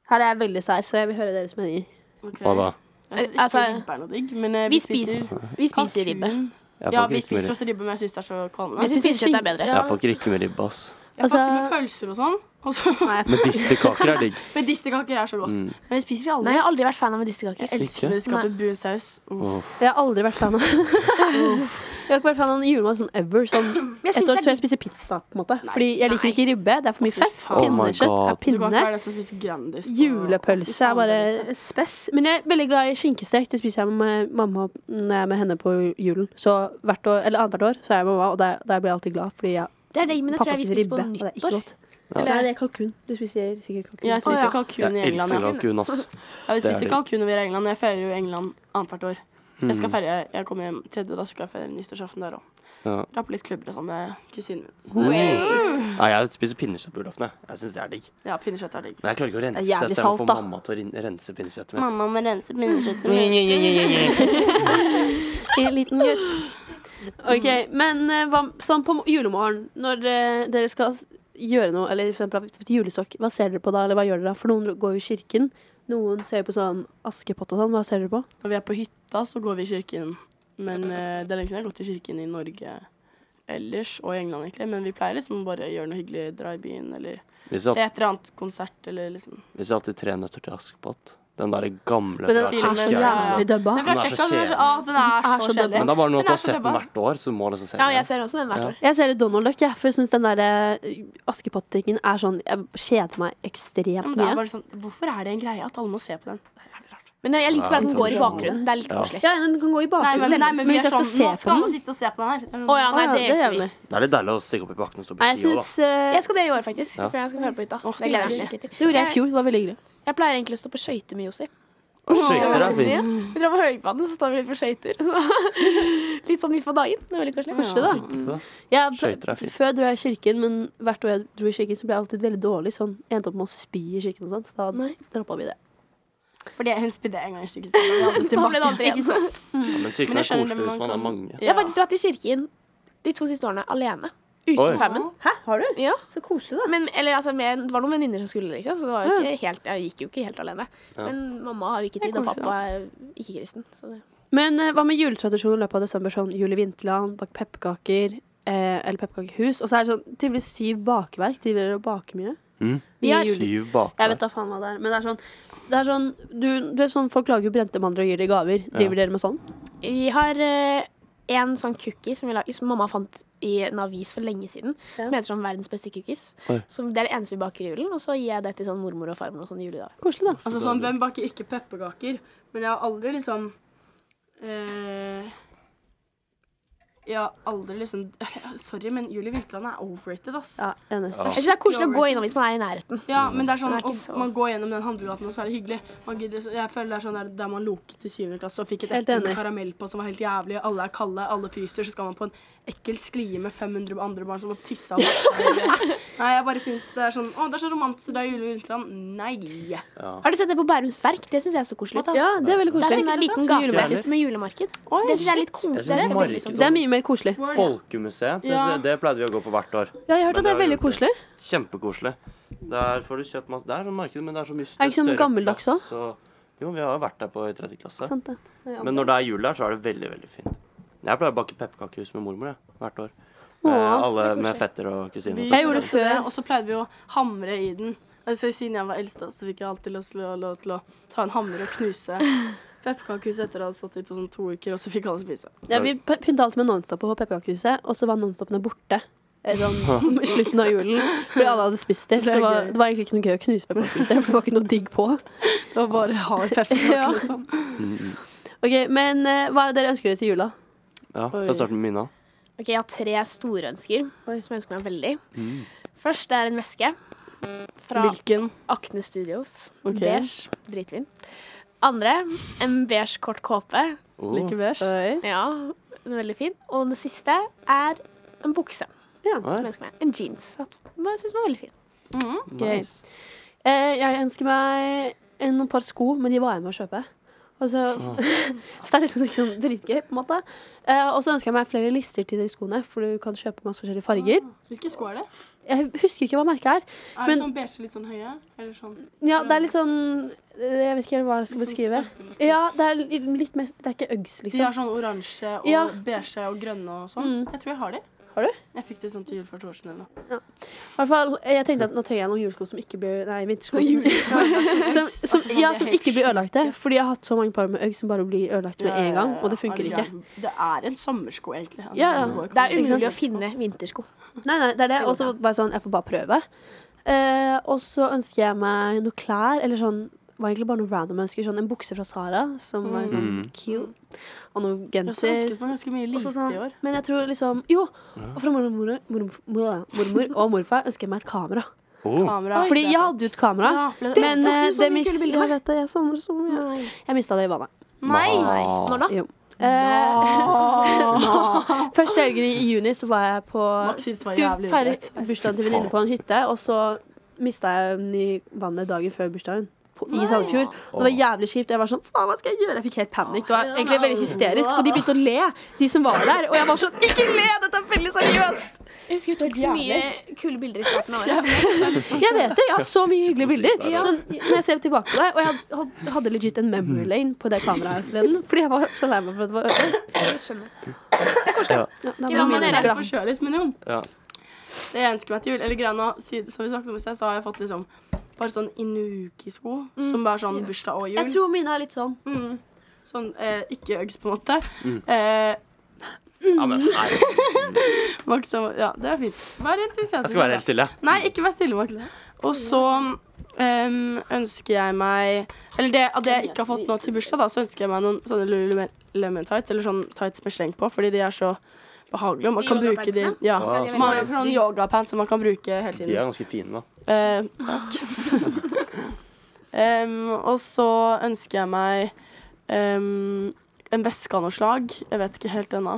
[SPEAKER 3] Her er jeg veldig sær, så jeg vil høre deres meninger.
[SPEAKER 1] Ok.
[SPEAKER 7] Hva da?
[SPEAKER 1] Jeg synes
[SPEAKER 4] Altså,
[SPEAKER 1] ikke ribbe er noe digg, men eh,
[SPEAKER 4] Vi spiser, vi spiser ribbe.
[SPEAKER 1] kalkun.
[SPEAKER 2] Jeg
[SPEAKER 1] Ja,
[SPEAKER 2] får
[SPEAKER 1] vi
[SPEAKER 2] ikke riktig
[SPEAKER 1] spiser
[SPEAKER 2] med ribbe.
[SPEAKER 1] også ribbe, men jeg syns det er så kvalmende.
[SPEAKER 4] Jeg syns pinnekjøtt er bedre.
[SPEAKER 2] Jeg får ikke riktig med ribbe, ass.
[SPEAKER 1] Jeg
[SPEAKER 3] Altså-
[SPEAKER 1] altså, ikke med pølser og sånn. Og så-
[SPEAKER 3] Nei,
[SPEAKER 2] Men distekaker er digg.
[SPEAKER 1] Medisterkaker er så godt.
[SPEAKER 2] Mm.
[SPEAKER 1] Men det spiser vi aldri.
[SPEAKER 4] Nei, jeg har aldri vært fan av medisterkaker.
[SPEAKER 1] Jeg elsker
[SPEAKER 2] Ikke?
[SPEAKER 1] medisterkaker brun saus. Uff.
[SPEAKER 3] jeg har aldri vært fan av Jeg har ikke vært fan av julemat sånn ever. Sånn.
[SPEAKER 4] Men jeg
[SPEAKER 3] Et
[SPEAKER 4] syns
[SPEAKER 3] år tror
[SPEAKER 4] det er
[SPEAKER 3] jeg jeg spiser pizza. på en måte Fordi jeg liker
[SPEAKER 4] nei.
[SPEAKER 3] ikke ribbe. Det er for mye
[SPEAKER 1] Fy
[SPEAKER 3] fett.
[SPEAKER 1] faen.
[SPEAKER 2] Oh my
[SPEAKER 3] Pinnekjøtt
[SPEAKER 2] God.
[SPEAKER 3] er
[SPEAKER 1] Du kan ikke
[SPEAKER 3] pinne.
[SPEAKER 1] være den som spiser Grandis. på-
[SPEAKER 3] Julepølse er bare spess. Men jeg er veldig glad i skinkestek. Det spiser jeg med mamma når jeg er med henne på julen. Så hvert år, eller annethvert år så er jeg med mamma, og da da blir jeg alltid glad. Fordi jeg,
[SPEAKER 4] Det er det, men det tror jeg vi
[SPEAKER 3] spiser
[SPEAKER 4] spiser på
[SPEAKER 3] ribbe, og det er ikke
[SPEAKER 4] nyttår.
[SPEAKER 3] godt. Nei, det er kalkun. Du spiser sikkert kalkun.
[SPEAKER 1] Jeg spiser
[SPEAKER 4] Å, ja.
[SPEAKER 1] kalkun i
[SPEAKER 2] Jeg
[SPEAKER 1] England.
[SPEAKER 2] elsker
[SPEAKER 1] Ja.
[SPEAKER 2] kalkun, ass.
[SPEAKER 1] Jeg vil
[SPEAKER 2] Det er
[SPEAKER 1] spise
[SPEAKER 2] digg.
[SPEAKER 1] kalkun når vi er i England. Jeg feirer jo England annethvert år. Så jeg skal
[SPEAKER 2] Mm.
[SPEAKER 1] feire Jeg kommer hjem tredje, da skal jeg feire nyttårsaften der òg.
[SPEAKER 2] Ja.
[SPEAKER 1] Rappe litt klubber og sånn med kusinen min. Så-
[SPEAKER 2] Nei, jeg spiser pinnekjøtt på julaften. jeg. Jeg syns det er digg.
[SPEAKER 1] Ja, pinnekjøtt er digg.
[SPEAKER 2] Men jeg klarer ikke å rense.
[SPEAKER 3] Det er
[SPEAKER 2] Jeg
[SPEAKER 3] jævlig
[SPEAKER 2] ser
[SPEAKER 3] salt,
[SPEAKER 2] for
[SPEAKER 3] da.
[SPEAKER 2] mamma til å rin- rense pinnekjøttet mitt.
[SPEAKER 1] Mamma må rense pinnekjøttet
[SPEAKER 3] En liten gutt. Ok, men eh, hva, sånn på julemorgen, når eh, dere skal s- gjøre noe, eller for eksempel aktivt julesokk, hva ser dere på da, eller hva gjør dere da? For noen går jo i kirken, noen ser jo på sånn askepott og sånn, hva ser dere på?
[SPEAKER 1] Når vi er på hytta, så går vi i kirken. Men eh, det er lenge siden jeg har gått i kirken i Norge ellers, og i England egentlig. Men vi pleier liksom å bare gjøre noe hyggelig, dra i byen, eller
[SPEAKER 2] Vi
[SPEAKER 1] se
[SPEAKER 2] ser
[SPEAKER 1] et eller annet konsert, eller liksom.
[SPEAKER 2] alltid Tre nøtter til Askepott. Den derre gamle
[SPEAKER 3] Men
[SPEAKER 2] fra
[SPEAKER 3] den er så
[SPEAKER 2] Tsjekkia.
[SPEAKER 1] ja,
[SPEAKER 3] jævlig
[SPEAKER 2] liksom.
[SPEAKER 3] dubba.
[SPEAKER 1] Den fra
[SPEAKER 2] Den er så
[SPEAKER 1] Tsjekkia, den er så-
[SPEAKER 2] kjedelig.
[SPEAKER 1] ah, den er
[SPEAKER 3] Den er
[SPEAKER 1] så
[SPEAKER 3] så
[SPEAKER 1] kjedelig.
[SPEAKER 2] Men det er bare noe
[SPEAKER 1] Den
[SPEAKER 2] at du
[SPEAKER 1] er
[SPEAKER 2] har
[SPEAKER 1] så
[SPEAKER 2] sett den
[SPEAKER 1] dubba.
[SPEAKER 2] hvert år, så du må liksom se
[SPEAKER 4] Ja, jeg
[SPEAKER 2] den.
[SPEAKER 4] ser også den hvert
[SPEAKER 2] Ja.
[SPEAKER 4] år.
[SPEAKER 3] Jeg ser litt Donald Duck, jeg, for jeg synes den der eh, askepott-tingen er sånn, jeg kjeder meg
[SPEAKER 1] Ja, men
[SPEAKER 3] ekstremt
[SPEAKER 1] det er
[SPEAKER 3] mye.
[SPEAKER 1] bare sånn, hvorfor er det en greie at alle må se på den? Det er jævlig rart.
[SPEAKER 4] Men jeg liker bare at den går i bakgrunnen. Det er litt
[SPEAKER 2] Ja.
[SPEAKER 4] koselig.
[SPEAKER 3] Ja, den kan gå i
[SPEAKER 1] Nei,
[SPEAKER 3] bakgrunnen.
[SPEAKER 1] men, nei, men vi
[SPEAKER 3] hvis
[SPEAKER 1] er
[SPEAKER 3] jeg skal
[SPEAKER 1] sånn, nå
[SPEAKER 3] se på
[SPEAKER 1] skal alle
[SPEAKER 3] den,
[SPEAKER 1] sitte og se på den her.
[SPEAKER 4] Å ja,
[SPEAKER 3] Å
[SPEAKER 4] nei,
[SPEAKER 3] ja,
[SPEAKER 4] det gjør ikke vi.
[SPEAKER 3] jævlig.
[SPEAKER 2] Det er litt deilig å stikke opp i bakken og stå på
[SPEAKER 3] Nei, jeg
[SPEAKER 2] ski òg, da.
[SPEAKER 3] synes, eh,
[SPEAKER 4] Jeg skal det i år, faktisk.
[SPEAKER 2] Ja.
[SPEAKER 4] For jeg skal føre på hytta.
[SPEAKER 1] Åh,
[SPEAKER 4] Det gleder jeg meg
[SPEAKER 1] deilig.
[SPEAKER 4] skikkelig til.
[SPEAKER 3] det gjorde jeg i fjor, det var veldig hyggelig.
[SPEAKER 4] Jeg pleier egentlig å stå på skøyter med Josef.
[SPEAKER 2] Og skøyter er fint.
[SPEAKER 4] Vi drar på høyvannet, så står vi litt på skøyter. Så- Litt sånn midt på dagen. Det er veldig koselig.
[SPEAKER 3] Koselig, da.
[SPEAKER 2] Ja.
[SPEAKER 3] Jeg,
[SPEAKER 2] Skøyter er fint.
[SPEAKER 3] før dro jeg i kirken, men hvert år jeg dro i kirken, så ble jeg alltid veldig dårlig. Sånn, jeg endte opp med å spy i kirken og sånn, så da
[SPEAKER 4] Nei.
[SPEAKER 3] droppa vi det.
[SPEAKER 1] Fordi hun spydde en gang i kirken. så den var aldri
[SPEAKER 4] Så ble
[SPEAKER 1] tilbake.
[SPEAKER 4] det aldri igjen.
[SPEAKER 2] Ja, men
[SPEAKER 1] Men
[SPEAKER 2] kirken er
[SPEAKER 1] jeg skjønner det,
[SPEAKER 2] koselig hvis man
[SPEAKER 1] man
[SPEAKER 2] er
[SPEAKER 1] kan-
[SPEAKER 2] mange.
[SPEAKER 4] Jeg har faktisk dratt i kirken de to siste årene alene. Uten
[SPEAKER 2] Oi.
[SPEAKER 4] femmen.
[SPEAKER 3] Hæ, har du?
[SPEAKER 4] Ja.
[SPEAKER 3] Så koselig,
[SPEAKER 4] Men, eller, altså, med, det var noen venninner som skulle, liksom, så det var jo ikke helt, jeg gikk jo ikke helt alene.
[SPEAKER 2] Ja.
[SPEAKER 4] Men mamma har jo ikke tid, og
[SPEAKER 1] koselig,
[SPEAKER 4] pappa er ikke kristen. Så det.
[SPEAKER 3] Men eh, hva med juletradisjonen i løpet av desember? Sånn jul i vinterland, bak pepperkaker, eh, eller pepperkakehus. Og så er det sånn tydeligvis syv bakverk. De vil bake mye.
[SPEAKER 2] Mm.
[SPEAKER 3] I jul.
[SPEAKER 2] Syv
[SPEAKER 3] Jeg
[SPEAKER 2] bakmenn.
[SPEAKER 3] vet da faen hva det er, men det er sånn det er sånn, du, du vet sånn, Folk lager jo brente mandler og gir det i gaver. Driver dere med sånn?
[SPEAKER 4] Vi har eh, en sånn cookie som, vi lager, som mamma fant i en avis for lenge siden,
[SPEAKER 3] Ja.
[SPEAKER 4] som heter sånn verdens beste cookies.
[SPEAKER 2] Oi.
[SPEAKER 4] Som, det er det eneste vi baker i julen, og så gir jeg det til sånn mormor og farmor og sånn i juledag.
[SPEAKER 3] Koselig, da.
[SPEAKER 1] Altså sånn, hvem baker ikke pepperkaker? Men jeg har aldri liksom eh, Jeg har aldri liksom Sorry, men Julie Vinterland er overrated, ass. Ja,
[SPEAKER 3] Ja, enig.
[SPEAKER 4] Jeg synes det er koselig å gå innom hvis man er i nærheten.
[SPEAKER 1] men det er sånn
[SPEAKER 4] Den er ikke
[SPEAKER 1] og
[SPEAKER 4] så-
[SPEAKER 1] man går gjennom den handlegaten, og så er det hyggelig. Man gidder, så- jeg føler det er sånn der, der man loket i 7. klasse og fikk et
[SPEAKER 3] Helt
[SPEAKER 1] eple
[SPEAKER 3] enig.
[SPEAKER 1] med karamell på som var helt jævlig, alle er kalde, alle fryser, så skal man på en ekkel sklie med 500 andre barn som har tissa og vokst seg. Nei, jeg bare syns det er sånn Å, det er så romantisk, det er Julie Vinterland. Nei.
[SPEAKER 4] Har du sett det på Bærums Verk? Det synes jeg er så koselig.
[SPEAKER 3] Ja, det er veldig
[SPEAKER 4] Det er
[SPEAKER 3] koselig.
[SPEAKER 4] sånn en liten
[SPEAKER 2] Jævlig.
[SPEAKER 4] gavemarked med julemarked. det synes jeg er litt
[SPEAKER 2] Jeg
[SPEAKER 4] koselig.
[SPEAKER 2] synes
[SPEAKER 4] Det ser veldig
[SPEAKER 2] marked-
[SPEAKER 4] sånn-
[SPEAKER 3] Det er mye mer koselig.
[SPEAKER 2] Folkemuseet, det,
[SPEAKER 1] Ja.
[SPEAKER 2] det pleide vi å gå på hvert år.
[SPEAKER 3] Ja, jeg har
[SPEAKER 2] Men
[SPEAKER 3] hørt at det
[SPEAKER 2] det er
[SPEAKER 3] er
[SPEAKER 2] jo
[SPEAKER 3] veldig
[SPEAKER 2] koselig.
[SPEAKER 3] koselig.
[SPEAKER 2] Kjempekoselig. Der får du kjøpt masse Det er sånn marked, men det er så mye større
[SPEAKER 3] Er det ikke sånn gammeldags
[SPEAKER 2] plass, og- Jo, vi har jo vært der på i tredje klasse.
[SPEAKER 3] Sant det. Ja.
[SPEAKER 2] Men når det er jul der, så er det veldig, veldig fint. Jeg pleier å bake pepperkakehus med mormor jeg, hvert år. Med
[SPEAKER 3] Åh,
[SPEAKER 2] alle med fetter og kusiner. og
[SPEAKER 1] Vi
[SPEAKER 2] søsken.
[SPEAKER 3] Jeg gjorde det
[SPEAKER 1] også
[SPEAKER 3] før.
[SPEAKER 1] Og så pleide vi å hamre i den. Altså, siden jeg var eldst, da, så fikk jeg alltid lov til å, lov til å ta en hammer og knuse pepperkakehuset etter at det hadde stått ute sånn to uker, og så fikk alle spise.
[SPEAKER 3] Ja, vi p- pynta alt med Nonstop på pepperkakehuset, og så var Nonstopene borte. eh, Sånn, I slutten av julen. Fordi alle hadde spist det. Så
[SPEAKER 1] Det er
[SPEAKER 3] det var,
[SPEAKER 1] gøy.
[SPEAKER 3] det var egentlig ikke noe gøy å knuse pepperkakehuset, for det var ikke noe digg på.
[SPEAKER 1] Det var bare hard pepperkake,
[SPEAKER 3] Ja.
[SPEAKER 1] liksom.
[SPEAKER 3] Ok, Men eh, hva er det dere ønsker dere til jula?
[SPEAKER 2] Ja, Får jeg starte med Mina?
[SPEAKER 4] Ok, Jeg har tre store ønsker som jeg ønsker meg veldig. Først er en veske fra
[SPEAKER 1] Hvilken?
[SPEAKER 4] Akne Studios.
[SPEAKER 1] Ok.
[SPEAKER 4] Beige. Dritfin. Andre en beige, kort kåpe.
[SPEAKER 2] Oh,
[SPEAKER 1] Like beige?
[SPEAKER 3] Oi.
[SPEAKER 4] Ja, den er veldig fin. Og den siste er en bukse. som
[SPEAKER 2] oi,
[SPEAKER 4] jeg ønsker meg. En jeans. at- Jeg synes den var veldig fin.
[SPEAKER 2] nice.
[SPEAKER 1] Mhm.
[SPEAKER 3] Eh, jeg ønsker meg en- noen par sko, men de var jeg med å kjøpe. Og så,
[SPEAKER 1] Ah.
[SPEAKER 3] så det er liksom ikke sånn dritgøy, på en måte. Eh, og så ønsker jeg meg flere lister til de skoene, for du kan kjøpe masse forskjellige farger.
[SPEAKER 1] Hvilke sko er det?
[SPEAKER 3] Jeg husker ikke hva merket er.
[SPEAKER 1] Er
[SPEAKER 3] Men-
[SPEAKER 1] det sånn beige, litt sånn høye? Eller sånn
[SPEAKER 3] Ja, det er litt sånn eh, Jeg vet ikke helt hva jeg skal
[SPEAKER 1] Litt sånn
[SPEAKER 3] beskrive.
[SPEAKER 1] stempel-
[SPEAKER 3] Ja, det er li- litt mer Det er ikke Uggs,
[SPEAKER 1] De har
[SPEAKER 3] liksom.
[SPEAKER 1] sånn oransje og
[SPEAKER 3] Ja.
[SPEAKER 1] beige og grønne og sånn.
[SPEAKER 3] Mm.
[SPEAKER 1] Jeg tror jeg har de.
[SPEAKER 3] Har du?
[SPEAKER 1] Jeg fikk de sånn til jul for to år siden. eller noe.
[SPEAKER 3] I hvert fall, eh, jeg tenkte at nå trenger jeg noen julesko som ikke blir Nei, vintersko. som- Som, som,
[SPEAKER 1] Altså, sånn,
[SPEAKER 3] ja,
[SPEAKER 1] de er
[SPEAKER 3] som
[SPEAKER 1] helt
[SPEAKER 3] ikke blir ødelagte. Fordi jeg har hatt så mange par med Uggs som bare blir ødelagt med
[SPEAKER 1] Ja, ja,
[SPEAKER 3] en gang,
[SPEAKER 1] ja,
[SPEAKER 3] og det
[SPEAKER 1] ja. Er du
[SPEAKER 3] funker ikke.
[SPEAKER 1] gæren? Det er en sommersko, egentlig. Altså,
[SPEAKER 3] Ja, ja.
[SPEAKER 1] sånn, går ikke
[SPEAKER 4] Det er
[SPEAKER 1] an å-
[SPEAKER 4] umulig å
[SPEAKER 1] Ikke sant?
[SPEAKER 4] finne vintersko.
[SPEAKER 3] Nei, nei, det er det.
[SPEAKER 4] Det går
[SPEAKER 3] Og så bare sånn, jeg får bare prøve. Eh, og så ønsker jeg meg noen klær, eller sånn var egentlig bare noe random jeg ønsker. Sånn en bukse fra Sara, som var sånn
[SPEAKER 2] Mm.
[SPEAKER 3] cute. Og noen
[SPEAKER 1] Jeg har
[SPEAKER 3] genser.
[SPEAKER 1] ønsket meg ganske mye
[SPEAKER 3] Og så
[SPEAKER 1] lite
[SPEAKER 3] sånn,
[SPEAKER 1] i år.
[SPEAKER 3] men jeg tror liksom Jo! Og fra mormor, mormor, mormor, mormor og morfar ønsker jeg meg et kamera.
[SPEAKER 7] Oh.
[SPEAKER 1] Kamera.
[SPEAKER 3] Fordi jeg hadde jo et kamera.
[SPEAKER 1] Ja, ble det-
[SPEAKER 3] Men
[SPEAKER 4] tok
[SPEAKER 3] eh,
[SPEAKER 4] jo så
[SPEAKER 3] det
[SPEAKER 4] mye
[SPEAKER 3] mis...
[SPEAKER 4] kule bilder,
[SPEAKER 3] Jeg vet det, jeg savner det så mye. Jeg mista det i vannet.
[SPEAKER 4] Nei.
[SPEAKER 2] Ma.
[SPEAKER 4] Når da?
[SPEAKER 3] Jo. Eh, Første helgen i juni så var jeg på
[SPEAKER 1] Mats syntes det var
[SPEAKER 3] Skulle
[SPEAKER 1] jævlig
[SPEAKER 3] feire
[SPEAKER 1] ugreit.
[SPEAKER 3] bursdagen til venninne på en hytte, og så mista jeg den i vannet dagen før bursdagen. På, I Sandefjord. Og det var jævlig kjipt. og Jeg var sånn, faen, hva skal jeg gjøre? Jeg fikk helt panikk. Det var egentlig veldig hysterisk. Og de begynte å le, de som var der. Og jeg var sånn, ikke le! Dette er veldig seriøst!
[SPEAKER 4] Jeg husker vi tok så mye kule bilder i starten av året.
[SPEAKER 3] Jeg vet det. Jeg har så mye hyggelige bilder. Sånn, når jeg ser tilbake på det, og jeg had- hadde legit en memory lane på det kameraet forleden, fordi jeg var så lei meg for at det var ødelagt.
[SPEAKER 4] Jeg skjønner.
[SPEAKER 3] Ja, da var
[SPEAKER 1] Ja,
[SPEAKER 3] jeg
[SPEAKER 1] men
[SPEAKER 3] minst
[SPEAKER 1] dere
[SPEAKER 3] glad.
[SPEAKER 1] er forkjølet, men jo.
[SPEAKER 2] Ja.
[SPEAKER 1] Det jeg ønsker meg til jul, eller greia nå, si- som vi snakket om i sted, så har jeg fått liksom bare sånn inuki-sko, som bare er sånn bursdag og
[SPEAKER 3] Mm. Jeg
[SPEAKER 1] jul.
[SPEAKER 3] tror mine er litt sånn.
[SPEAKER 1] Mm. Sånn eh, ikke Uggs, på en måte.
[SPEAKER 7] Mm.
[SPEAKER 1] Eh,
[SPEAKER 7] Ja, men nei,
[SPEAKER 1] Max, så- ja, det er fint. Vær entusiastisk.
[SPEAKER 7] jeg skal være helt stille.
[SPEAKER 1] Nei, ikke vær stille, Max. Og så em, ønsker jeg meg Eller det, av det jeg ikke har fått nå til bursdag, da, så ønsker jeg meg noen sånne Lululemon tights, eller sånn tights med sleng på, fordi de er så behagelige. Og man
[SPEAKER 4] De
[SPEAKER 1] kan bruke de
[SPEAKER 4] yogapantsene?
[SPEAKER 1] Ja.
[SPEAKER 7] Ja,
[SPEAKER 1] Man har jo sånne yogapants som man kan bruke hele
[SPEAKER 7] De
[SPEAKER 1] tiden.
[SPEAKER 7] er ganske fine, da.
[SPEAKER 1] Eh, takk. Em, og så ønsker jeg meg em, en veske av noe slag. Jeg vet ikke helt ennå,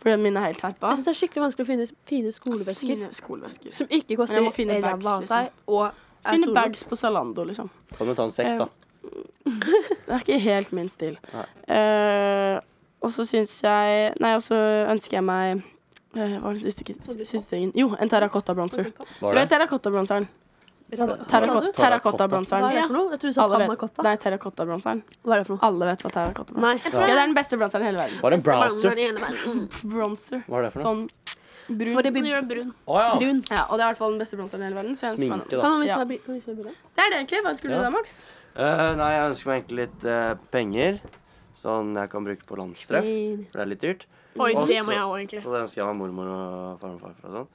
[SPEAKER 1] for den min er helt herpa.
[SPEAKER 3] Jeg synes det er skikkelig vanskelig å finne fine skolevesker
[SPEAKER 1] Fine skolevesker.
[SPEAKER 3] som ikke koster
[SPEAKER 1] Men jeg må finne bags, liksom.
[SPEAKER 3] ræva av seg. Og er
[SPEAKER 1] Finne
[SPEAKER 3] store.
[SPEAKER 1] bags på Zalando, liksom.
[SPEAKER 7] Kan du ta en sekk, da?
[SPEAKER 1] Det er ikke helt min stil.
[SPEAKER 7] Nei.
[SPEAKER 1] Eh, og så syns jeg Nei, og så ønsker jeg meg eh, Hva var den siste, siste tingen? Jo, en terrakotta-bronser. Du
[SPEAKER 7] Var
[SPEAKER 1] vet
[SPEAKER 7] det?
[SPEAKER 1] terrakotta-bronseren?
[SPEAKER 7] Terrakotta.
[SPEAKER 1] Terrakot-
[SPEAKER 3] Hva er
[SPEAKER 1] Terrakotta-bronseren.
[SPEAKER 3] det for noe? Jeg trodde du sa
[SPEAKER 1] Alle vet-
[SPEAKER 3] pannacotta.
[SPEAKER 1] Nei, terrakotta-bronseren.
[SPEAKER 3] Hva er det for noe?
[SPEAKER 1] Alle vet hva terrakotta-bronser
[SPEAKER 3] Nei.
[SPEAKER 1] Jeg tror det er den beste bronseren i hele verden.
[SPEAKER 7] Var det en browser?
[SPEAKER 1] Bronser.
[SPEAKER 7] Hva er det for noe?
[SPEAKER 1] Sånn brun.
[SPEAKER 3] For det blir
[SPEAKER 4] Gjør den brun.
[SPEAKER 7] Å ja.
[SPEAKER 3] brun.
[SPEAKER 1] Ja, og det er i hvert fall den beste bronseren i hele verden. Så jeg ønsker meg
[SPEAKER 7] Sminke,
[SPEAKER 1] den.
[SPEAKER 7] da.
[SPEAKER 3] Kan noen vise
[SPEAKER 1] Ja.
[SPEAKER 3] meg bil- kan noen vise meg bildet?
[SPEAKER 1] Det er det egentlig. Hva ønsker du
[SPEAKER 7] Ja.
[SPEAKER 1] deg, Max?
[SPEAKER 2] Eh, nei, jeg ønsker meg egentlig litt eh, penger. Sånn jeg kan bruke på landstreff, for det er litt dyrt.
[SPEAKER 4] Oi,
[SPEAKER 2] Og
[SPEAKER 4] det
[SPEAKER 2] så-
[SPEAKER 4] må jeg òg, egentlig.
[SPEAKER 2] Så det ønsker jeg meg mormor og farmor og farfar og sånn.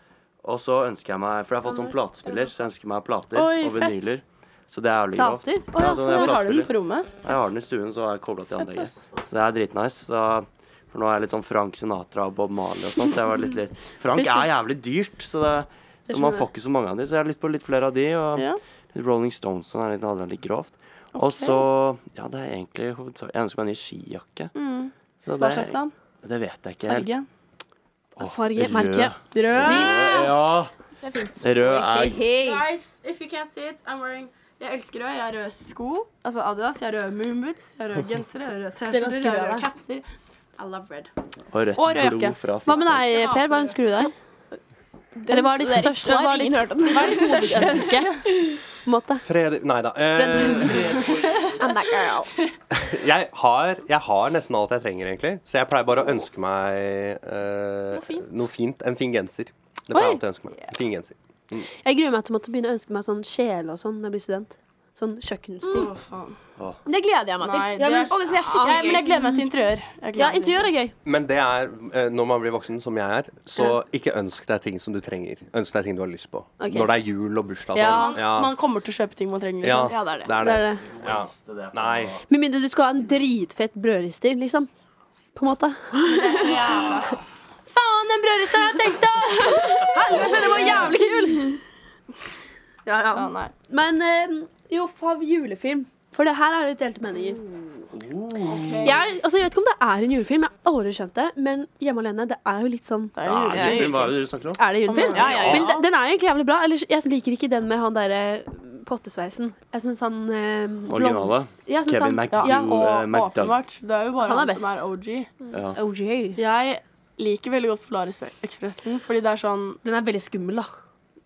[SPEAKER 2] Og så ønsker jeg meg For jeg har fått sånn platespiller, så jeg ønsker meg plater
[SPEAKER 1] Oi,
[SPEAKER 2] og
[SPEAKER 1] fett.
[SPEAKER 2] vinyler. Så det er jo lyden av.
[SPEAKER 3] Plater? Å
[SPEAKER 2] Ja, sånn
[SPEAKER 3] ja, så
[SPEAKER 2] er
[SPEAKER 1] Hvor
[SPEAKER 3] det-
[SPEAKER 1] har du den på rommet?
[SPEAKER 2] Jeg har den i stuen, så er jeg kobla til anlegget. Så det er dritnice. Så for nå er jeg litt sånn Frank Sinatra og Bob Marley og sånn. Så jeg var litt litt Frank er jævlig dyrt, så det så man får ikke så mange av de. Så jeg har lyst på litt flere av de. Og
[SPEAKER 1] Ja.
[SPEAKER 2] litt Rolling Stones sånn er litt, hadde vært litt grovt. Og så Ja, det er egentlig hovedsakelig Jeg ønsker meg en ny skijakke. Så
[SPEAKER 1] Hva slags da?
[SPEAKER 2] Det vet jeg ikke helt.
[SPEAKER 1] Farge?
[SPEAKER 2] Åh,
[SPEAKER 3] Farge,
[SPEAKER 2] rød.
[SPEAKER 3] merke.
[SPEAKER 1] Rød.
[SPEAKER 2] Ja.
[SPEAKER 4] Det er fint.
[SPEAKER 2] Rød er
[SPEAKER 1] Guys, if you can't see it, I'm wearing Jeg elsker rød. Jeg har røde sko. Altså Adidas. Jeg har røde moonboots. Jeg har røde gensere. Jeg har røde T-skjorter. Jeg har røde capser. I love red.
[SPEAKER 2] Og rødt
[SPEAKER 1] Og rød
[SPEAKER 2] blod
[SPEAKER 1] jakke.
[SPEAKER 2] fra
[SPEAKER 3] Hva med deg, Per? Hva ønsker du deg? Eller hva er ditt største
[SPEAKER 4] har
[SPEAKER 3] hva er
[SPEAKER 4] ingen
[SPEAKER 3] ditt, hva er ditt største ønske? På en måte.
[SPEAKER 7] Fred... Nei da. Eh,
[SPEAKER 4] I'm that girl.
[SPEAKER 7] jeg, har, jeg har nesten alt jeg trenger, egentlig. Så jeg pleier bare å ønske meg eh, noe fint. En fin genser. Det pleier jeg alltid å ønske meg. En Fin genser.
[SPEAKER 3] Jeg gruer meg til å måtte begynne å ønske meg sånn sjele og sånn når jeg blir student. Sånn kjøkkenutstyr.
[SPEAKER 1] Å, faen.
[SPEAKER 4] Det gleder jeg meg til.
[SPEAKER 1] Nei,
[SPEAKER 4] Ja,
[SPEAKER 1] det
[SPEAKER 4] men,
[SPEAKER 1] er-
[SPEAKER 4] å, det ser
[SPEAKER 1] Ja, men Mm.
[SPEAKER 4] skikkelig
[SPEAKER 1] jeg
[SPEAKER 4] gøy ut.
[SPEAKER 1] gleder meg til mm. interiør. Jeg gleder
[SPEAKER 3] Ja,
[SPEAKER 1] meg til
[SPEAKER 3] interiør er gøy.
[SPEAKER 7] Men det er eh, når man blir voksen, som jeg er, så ikke ønsk deg ting som du trenger. Ønsk deg ting du har lyst på.
[SPEAKER 3] Ok.
[SPEAKER 7] Når det er jul og bursdag og
[SPEAKER 3] Ja.
[SPEAKER 7] sånn. Ja.
[SPEAKER 1] Man kommer til å kjøpe ting man trenger.
[SPEAKER 7] Ja,
[SPEAKER 1] Liksom.
[SPEAKER 4] Ja, det er det.
[SPEAKER 7] det er
[SPEAKER 3] Det
[SPEAKER 7] det.
[SPEAKER 3] er det.
[SPEAKER 7] Ja. Nei.
[SPEAKER 3] Med mindre du skal ha en dritfett brødrister, liksom. På en måte. Faen, den brødristeren har jeg tenkt å! Helvete, den var jævlig kul! Ja, ja.
[SPEAKER 1] Ja, nei.
[SPEAKER 3] Men eh, jo, fav julefilm. For det her er litt delte meninger. Jeg, altså, jeg vet ikke om det er en julefilm, jeg har aldri skjønt det. Men Hjemme alene, det er jo litt sånn
[SPEAKER 1] Det er jo
[SPEAKER 7] Ja, Hva er det du snakker om?
[SPEAKER 3] Er det julefilm?
[SPEAKER 4] Ja, ja, ja.
[SPEAKER 3] Men den- den er jo egentlig jævlig bra. Eller jeg liker ikke den med han derre pottesveisen. Jeg syns han eh, blond-
[SPEAKER 2] Originale.
[SPEAKER 3] Ja, jeg synes
[SPEAKER 2] Kevin
[SPEAKER 3] han-
[SPEAKER 2] McDougall.
[SPEAKER 3] Ja,
[SPEAKER 1] Og
[SPEAKER 2] eh, McDoug-
[SPEAKER 1] åpenbart. Det er jo bare
[SPEAKER 3] Han er
[SPEAKER 1] han, som
[SPEAKER 3] best.
[SPEAKER 1] er OG.
[SPEAKER 2] Ja.
[SPEAKER 3] OJ.
[SPEAKER 1] Jeg liker veldig godt Polarekspressen, fordi det er sånn
[SPEAKER 3] Den er veldig skummel, da.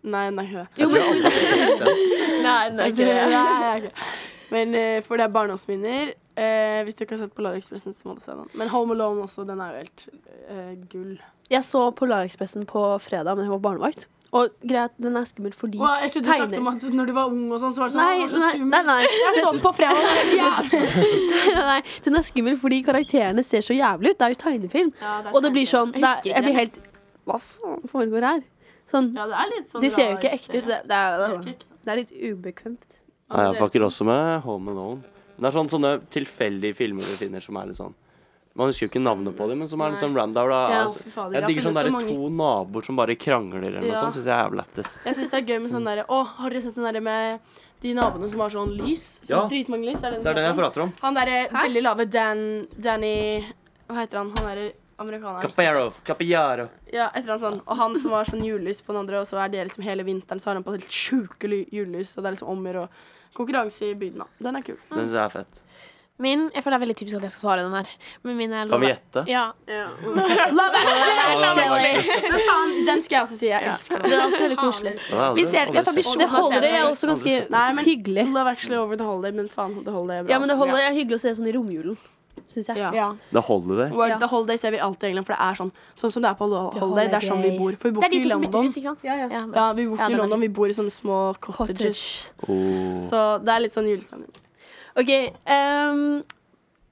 [SPEAKER 1] Nei, den er ikke det.
[SPEAKER 2] Jeg tror jeg aldri har sett den.
[SPEAKER 3] Nei, den
[SPEAKER 1] Det er jeg ikke. Men eh, for det er barndomsminner. Eh, hvis du ikke har sett Polarekspressen, så må du se den. Men Home Alone også, den er jo helt eh, gull.
[SPEAKER 3] Jeg så Polarekspressen på fredag, men jeg var barnevakt. Og greit, den er skummel fordi
[SPEAKER 1] Og jeg trodde du snakket om at når du var ung og sånn, så var det sånn
[SPEAKER 3] Nei,
[SPEAKER 1] «Å, så
[SPEAKER 3] nei,
[SPEAKER 1] skummel».
[SPEAKER 3] nei, nei.
[SPEAKER 1] Jeg så den på fredag. og det var helt jævlig.
[SPEAKER 3] nei, nei. Den er skummel fordi karakterene ser så jævlig ut. Det er jo tegnefilm. og det blir sånn
[SPEAKER 4] Jeg
[SPEAKER 3] det er,
[SPEAKER 4] husker ikke
[SPEAKER 3] Jeg blir
[SPEAKER 4] det.
[SPEAKER 3] helt Hva faen foregår her? Sånn,
[SPEAKER 1] Ja, det er litt sånn
[SPEAKER 3] de ser jo
[SPEAKER 1] rar
[SPEAKER 3] ikke ekte
[SPEAKER 1] serie.
[SPEAKER 3] ut. Det, det,
[SPEAKER 1] Det er ikke
[SPEAKER 3] er,
[SPEAKER 1] ekte.
[SPEAKER 3] det er litt ubekvemt.
[SPEAKER 2] Nei, jeg fucker også med Home Alone. Men det er sånn, sånne tilfeldige filmer du finner som er litt sånn Man husker jo ikke navnet på dem, men som er litt sånn random. Da.
[SPEAKER 3] Ja,
[SPEAKER 2] Altså,
[SPEAKER 1] Fy fader,
[SPEAKER 2] jeg
[SPEAKER 1] har
[SPEAKER 2] digger sånn
[SPEAKER 1] funnet
[SPEAKER 2] derre
[SPEAKER 1] mange-
[SPEAKER 2] to naboer som bare krangler eller noe
[SPEAKER 1] Ja.
[SPEAKER 2] sånt. Syns jeg er lættis.
[SPEAKER 1] Jeg syns det er gøy med sånn derre Å, har dere sett den derre med de naboene som har sånn lys? Sånn
[SPEAKER 2] Ja.
[SPEAKER 1] Dritmange lys. Er det, den
[SPEAKER 2] Det er det
[SPEAKER 1] heter?
[SPEAKER 2] jeg prater om.
[SPEAKER 1] Han derre veldig lave Dan Danny Hva heter han? Han derre amerikaneren.
[SPEAKER 2] Capero. Capillaro.
[SPEAKER 1] Ja, et eller annet sånn. Og han som har sånn julelys på den andre, og så er det liksom hele vinteren, så har han på helt sjuke ly- julelys, og det er liksom ommer og konkurranse i byen, da. Den er kul.
[SPEAKER 2] Den syns jeg er fett.
[SPEAKER 4] Min, jeg føler det er veldig typisk at jeg skal svare den her. Men min er
[SPEAKER 2] Kan vi gjette?
[SPEAKER 4] Ja.
[SPEAKER 1] Love
[SPEAKER 4] Actually.
[SPEAKER 1] Men faen, den skal jeg også si. Jeg elsker den.
[SPEAKER 3] Den er også veldig koselig.
[SPEAKER 2] Ja,
[SPEAKER 4] Vi
[SPEAKER 2] det
[SPEAKER 4] ser,
[SPEAKER 2] har jeg
[SPEAKER 4] jeg
[SPEAKER 2] aldri
[SPEAKER 4] tar
[SPEAKER 2] sett.
[SPEAKER 4] visjon
[SPEAKER 3] Det
[SPEAKER 4] av
[SPEAKER 3] holder. Det
[SPEAKER 4] serien.
[SPEAKER 3] er også ganske
[SPEAKER 1] Nei, men-
[SPEAKER 3] hyggelig.
[SPEAKER 1] Love actually over the holiday, men faen, the holiday er bra.
[SPEAKER 3] Ja, men det
[SPEAKER 1] ass.
[SPEAKER 3] holder. Jeg er hyggelig å se sånn i romjulen, syns jeg.
[SPEAKER 1] Ja.
[SPEAKER 4] Ja.
[SPEAKER 2] Det holder, det.
[SPEAKER 1] Og
[SPEAKER 3] Ja.
[SPEAKER 1] The Holiday ser vi alltid i England, for det er sånn Sånn som det er på Holiday. holiday det er sånn vi bor. For vi
[SPEAKER 4] Det
[SPEAKER 1] bor
[SPEAKER 4] er de
[SPEAKER 1] ikke i
[SPEAKER 4] to som bytter
[SPEAKER 1] London.
[SPEAKER 4] hus, ikke sant?
[SPEAKER 3] Ja, ja.
[SPEAKER 1] Ja, vi bor
[SPEAKER 4] Ja,
[SPEAKER 1] ikke
[SPEAKER 4] den
[SPEAKER 1] i
[SPEAKER 4] er
[SPEAKER 1] London, vi bor i sånne små cottages.
[SPEAKER 3] Cottage.
[SPEAKER 2] Oh.
[SPEAKER 1] Så det er litt sånn julestemning.
[SPEAKER 3] OK. ehm,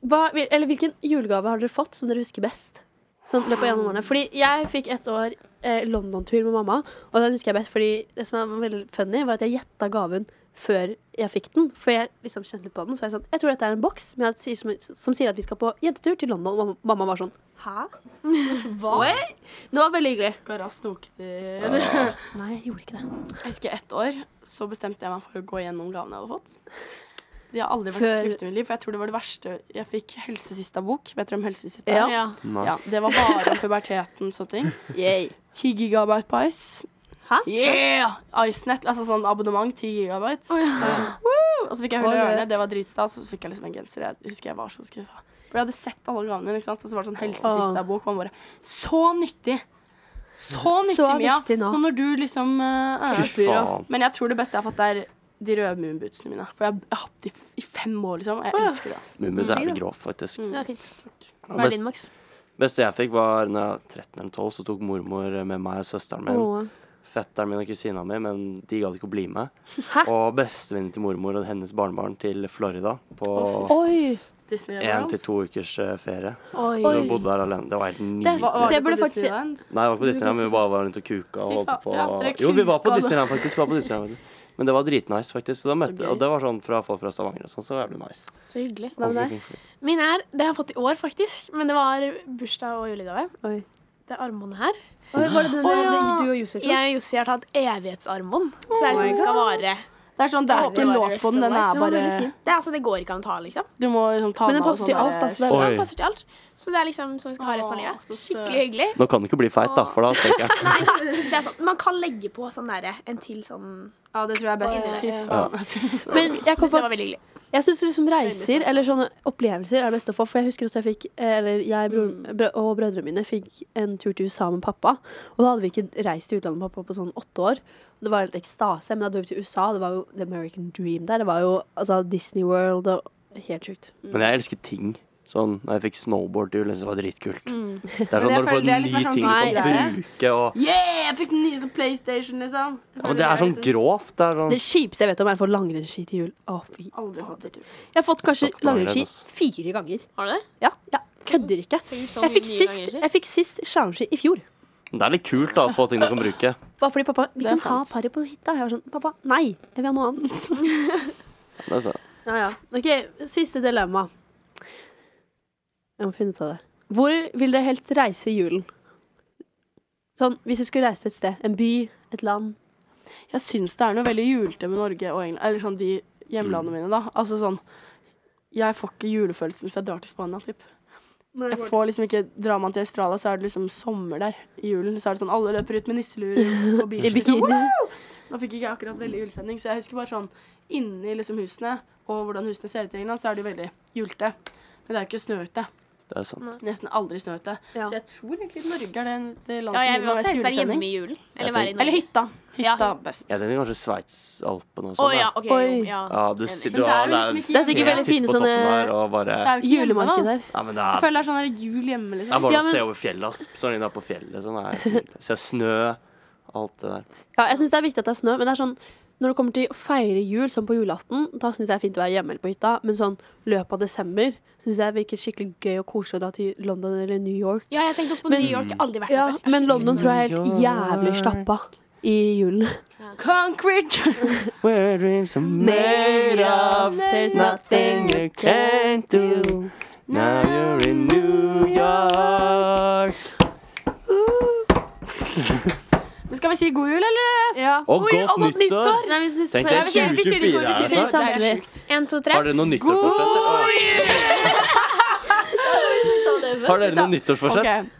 [SPEAKER 3] hva, vil- eller hvilken julegave har dere fått som dere husker best? Sånn i løpet av gjennom årene. Fordi jeg fikk et år eh, London-tur med mamma, og den husker jeg best. Fordi det som er veldig funny, var at jeg gjetta gaven før jeg fikk den. For jeg liksom kjente litt på den. Så jeg sånn Jeg tror dette er en boks men jeg sier som, som sier at vi skal på jentetur til London. Og mam- mamma var sånn Hæ? Hva? Oi! Det var veldig hyggelig.
[SPEAKER 1] Gara snokte
[SPEAKER 3] Nei, jeg gjorde ikke det.
[SPEAKER 1] Jeg husker ett år, så bestemte jeg meg for å gå gjennom gavene jeg hadde fått. De har aldri vært så
[SPEAKER 3] Før-
[SPEAKER 1] skuffet i mitt liv, for jeg tror det var det verste Jeg fikk helsesista-bok. Vet dere om helsesista?
[SPEAKER 3] Ja.
[SPEAKER 4] Ja.
[SPEAKER 2] Nei.
[SPEAKER 1] ja. Det var bare om puberteten og sånne ting. Ti gigabyte på Ice.
[SPEAKER 3] Hæ?
[SPEAKER 1] Yeah! Icenet, altså sånn abonnement, ti gigabyte. Woo! Og så fikk jeg hull i
[SPEAKER 3] Oi.
[SPEAKER 1] ørene, det var dritstas, og så fikk jeg liksom en genser. Jeg husker jeg var så skuffa. For jeg hadde sett alle gavene dine, ikke sant. Og så var det sånn helsesista-bok. Man bare Så nyttig! Så nyttig,
[SPEAKER 3] Så
[SPEAKER 1] Mia.
[SPEAKER 3] viktig nå.
[SPEAKER 1] Og når du liksom eh, er
[SPEAKER 2] Fy faen.
[SPEAKER 1] Men jeg tror det beste jeg har fått, er de røde Moonbootsene mine. For jeg har hatt de i fem år, liksom. Jeg elsker det. ass.
[SPEAKER 2] Mummis er litt grov, faktisk.
[SPEAKER 3] Mm.
[SPEAKER 4] Det var fint.
[SPEAKER 2] Og
[SPEAKER 4] Hva er
[SPEAKER 2] Best,
[SPEAKER 4] din, Max?
[SPEAKER 2] beste jeg fikk, var når jeg var 13 eller 12, så tok mormor med meg og søsteren min.
[SPEAKER 3] Åh.
[SPEAKER 2] fetteren min og kusina mi, men de gadd ikke å bli med. Og bestevenninnen til mormor og hennes barnebarn til Florida på
[SPEAKER 3] Oi.
[SPEAKER 1] Disney
[SPEAKER 2] én
[SPEAKER 1] World.
[SPEAKER 2] til to ukers eh, ferie.
[SPEAKER 4] Oi.
[SPEAKER 2] Så vi bodde der alene. Det var helt
[SPEAKER 3] Det
[SPEAKER 2] nydelig.
[SPEAKER 3] er-
[SPEAKER 1] Var du
[SPEAKER 3] Det
[SPEAKER 1] på
[SPEAKER 3] burde faktisk-
[SPEAKER 1] Disneyland?
[SPEAKER 2] Nei, vi var på Disneyland, men vi bare var rundt og kuka og
[SPEAKER 1] Fy
[SPEAKER 2] holdt
[SPEAKER 1] faen,
[SPEAKER 2] på.
[SPEAKER 1] ja, dere
[SPEAKER 2] Jo, vi var på
[SPEAKER 1] kuka, da.
[SPEAKER 2] Disneyland, faktisk. Vi var på Disneyland, faktisk. Men det var dritnice, faktisk. Så da møtte,
[SPEAKER 1] gøy.
[SPEAKER 2] og det var sånn fra folk fra Stavanger og sånn, så det var jævlig nice.
[SPEAKER 4] Så hyggelig.
[SPEAKER 3] Hva med deg?
[SPEAKER 4] Min er Det har jeg fått i år, faktisk. Men det var bursdag og julegave.
[SPEAKER 3] Oi.
[SPEAKER 4] Det er armbåndet her.
[SPEAKER 3] Oi, var det den
[SPEAKER 4] Å, ja.
[SPEAKER 3] du og Josef tok?
[SPEAKER 4] Jeg og Jossi har tatt evighetsarmbånd. Så det er liksom det skal vare.
[SPEAKER 1] Det er sånn, det er ikke
[SPEAKER 4] Overall
[SPEAKER 1] lås på den. Den
[SPEAKER 4] rest
[SPEAKER 1] er
[SPEAKER 4] of
[SPEAKER 1] bare
[SPEAKER 4] life. Det, er, altså, det går ikke an å ta, liksom.
[SPEAKER 1] Du må liksom ta
[SPEAKER 3] Men
[SPEAKER 1] med
[SPEAKER 3] den passer til
[SPEAKER 1] alle
[SPEAKER 3] alt, altså. Det
[SPEAKER 2] Oi.
[SPEAKER 3] er-
[SPEAKER 4] Ja, Den passer til alt. Så det er liksom som vi skal ha resten av
[SPEAKER 1] Åh,
[SPEAKER 4] livet.
[SPEAKER 1] så søt.
[SPEAKER 4] Skikkelig hyggelig.
[SPEAKER 2] Nå kan du ikke bli feit, da, for da tenker jeg
[SPEAKER 4] Nei, det er sant. Man kan legge på sånn derre en til sånn
[SPEAKER 1] Ja, det tror jeg er best. Fy faen.
[SPEAKER 3] Men jeg kom
[SPEAKER 4] Så
[SPEAKER 3] på
[SPEAKER 4] det var veldig hyggelig.
[SPEAKER 3] Jeg syns liksom reiser eller sånne opplevelser er det beste å få. For jeg husker også jeg fikk, eh, eller jeg bror-
[SPEAKER 1] Mm.
[SPEAKER 3] brø og brødrene mine fikk en tur til USA med pappa. Og da hadde vi ikke reist til utlandet med pappa på sånn åtte år. Og det var helt ekstase. Men da dro vi til USA, det var jo The American Dream der. Det var jo altså, Disney World og Helt sjukt.
[SPEAKER 1] Mm.
[SPEAKER 2] Men jeg elsker ting. Sånn når jeg fikk snowboard til jul, det var dritkult. Det er
[SPEAKER 1] Men
[SPEAKER 2] sånn
[SPEAKER 1] jeg
[SPEAKER 2] når du får
[SPEAKER 1] føler det er
[SPEAKER 2] en
[SPEAKER 1] litt
[SPEAKER 2] ny
[SPEAKER 1] mer sånn Mm.
[SPEAKER 2] ting du kan
[SPEAKER 1] greie.
[SPEAKER 2] bruke og
[SPEAKER 1] Yeah, jeg fikk den nyeste PlayStation, liksom.
[SPEAKER 2] ja, Men det er sånn grovt. Det er sånn
[SPEAKER 3] Det kjipeste jeg vet om, er å få langrennsski til jul. Å, fy.
[SPEAKER 1] Aldri fått det til.
[SPEAKER 3] Jeg har fått kanskje
[SPEAKER 2] Takk for langrenn,
[SPEAKER 3] langrennsski
[SPEAKER 2] ass.
[SPEAKER 3] fire ganger.
[SPEAKER 4] Har du det?
[SPEAKER 3] Ja, jeg kødder ikke. Jeg fikk sist, jeg fikk sist slalåmski i fjor.
[SPEAKER 2] Men Det er litt kult da, å få ting du kan bruke.
[SPEAKER 3] Bare fordi pappa Vi
[SPEAKER 1] Det
[SPEAKER 3] kan
[SPEAKER 1] er
[SPEAKER 3] ha
[SPEAKER 1] sant.
[SPEAKER 3] paret på hytta. Jeg var sånn Pappa, nei. Jeg vil ha noe annet.
[SPEAKER 2] Det er sånn.
[SPEAKER 3] Ja, ja. Ok, siste dilemma. Jeg må finne ut av det. Hvor vil dere helst reise i julen? Sånn, hvis du skulle reise et sted. En by, et land.
[SPEAKER 1] Jeg syns det er noe veldig julete med Norge og England, eller sånn de
[SPEAKER 2] Mm.
[SPEAKER 1] hjemlandene mine, da. Altså sånn Jeg får ikke julefølelse hvis jeg drar til Spania, typ. Jeg får liksom ikke Drar man til Australia, så er det liksom sommer der i julen. Så er det sånn alle løper ut med nisseluer og
[SPEAKER 3] I
[SPEAKER 1] bikkjer. Liksom,
[SPEAKER 3] bikini.
[SPEAKER 1] wow! Nå fikk ikke jeg akkurat veldig julestemning, så jeg husker bare sånn inni liksom husene og hvordan husene ser ut i England, så er det jo veldig julete. Men det er jo ikke snø ute.
[SPEAKER 2] Det er sånn. sant.
[SPEAKER 1] Nesten aldri snø ute.
[SPEAKER 3] Ja.
[SPEAKER 1] Så jeg tror egentlig Norge er det, det
[SPEAKER 4] Ja,
[SPEAKER 1] landet
[SPEAKER 4] jeg
[SPEAKER 1] som
[SPEAKER 4] vil
[SPEAKER 1] gir
[SPEAKER 4] også
[SPEAKER 1] mest
[SPEAKER 4] helst være
[SPEAKER 1] julestemning.
[SPEAKER 4] hjemme i julen.
[SPEAKER 2] Jeg
[SPEAKER 4] Eller være i
[SPEAKER 2] tenker-
[SPEAKER 4] Norge.
[SPEAKER 1] Eller hytta. Hytta
[SPEAKER 4] Ja.
[SPEAKER 1] er best.
[SPEAKER 2] Jeg tenker kanskje Sveitsalpene og
[SPEAKER 4] Å
[SPEAKER 2] sånn.
[SPEAKER 4] ja,
[SPEAKER 2] da.
[SPEAKER 4] OK.
[SPEAKER 3] Oi.
[SPEAKER 4] Jo, ja.
[SPEAKER 2] Ja, du,
[SPEAKER 4] Enig.
[SPEAKER 2] si-
[SPEAKER 1] Men
[SPEAKER 2] du
[SPEAKER 1] det er
[SPEAKER 2] har
[SPEAKER 1] jo liksom
[SPEAKER 2] liksom
[SPEAKER 1] ikke-
[SPEAKER 3] Det er sikkert
[SPEAKER 1] Ja.
[SPEAKER 2] titt
[SPEAKER 3] veldig fine
[SPEAKER 2] på toppen der
[SPEAKER 3] sånne
[SPEAKER 2] og bare
[SPEAKER 1] Det er jo ikke hjemme, da.
[SPEAKER 3] julemarkeder.
[SPEAKER 2] Ja, men det
[SPEAKER 1] Jeg
[SPEAKER 2] er,
[SPEAKER 1] føler det er sånn der jul hjemme,
[SPEAKER 2] det er
[SPEAKER 1] liksom.
[SPEAKER 2] bare
[SPEAKER 3] Ja,
[SPEAKER 2] å
[SPEAKER 3] men-
[SPEAKER 2] se over fjellet, ass. Sånn inne på fjellet som er Se snø, alt det der.
[SPEAKER 3] Ja, jeg syns det er viktig at det er snø, men det er sånn når det kommer til å feire jul, sånn på julaften, da syns jeg det er fint å være hjemme eller på hytta, men sånn løpet av desember syns jeg virker skikkelig gøy og koselig å dra til London eller New York.
[SPEAKER 4] ja, jeg tenkte også på
[SPEAKER 3] Men-
[SPEAKER 4] New York. Aldri vært
[SPEAKER 3] Ja,
[SPEAKER 4] der før.
[SPEAKER 3] men London tror jeg er helt jævlig slappa i julen.
[SPEAKER 1] Concrete!
[SPEAKER 2] Where dreams are made of
[SPEAKER 3] There's
[SPEAKER 2] nothing you can't do. Now you're in New York.
[SPEAKER 1] Men skal vi si god jul, eller?
[SPEAKER 3] Ja.
[SPEAKER 2] Og godt nyttår!
[SPEAKER 3] Nei, vi syns-
[SPEAKER 2] Tenk deg
[SPEAKER 3] vi sier-
[SPEAKER 2] 2024
[SPEAKER 3] vi
[SPEAKER 2] er
[SPEAKER 3] sier
[SPEAKER 2] snart.
[SPEAKER 3] samtidig.
[SPEAKER 4] En,
[SPEAKER 2] altså.
[SPEAKER 4] to,
[SPEAKER 2] Har
[SPEAKER 4] tre.
[SPEAKER 2] dere noe nyttårsforsett? Har dere noe
[SPEAKER 1] Ok,
[SPEAKER 2] nyttårsforsett?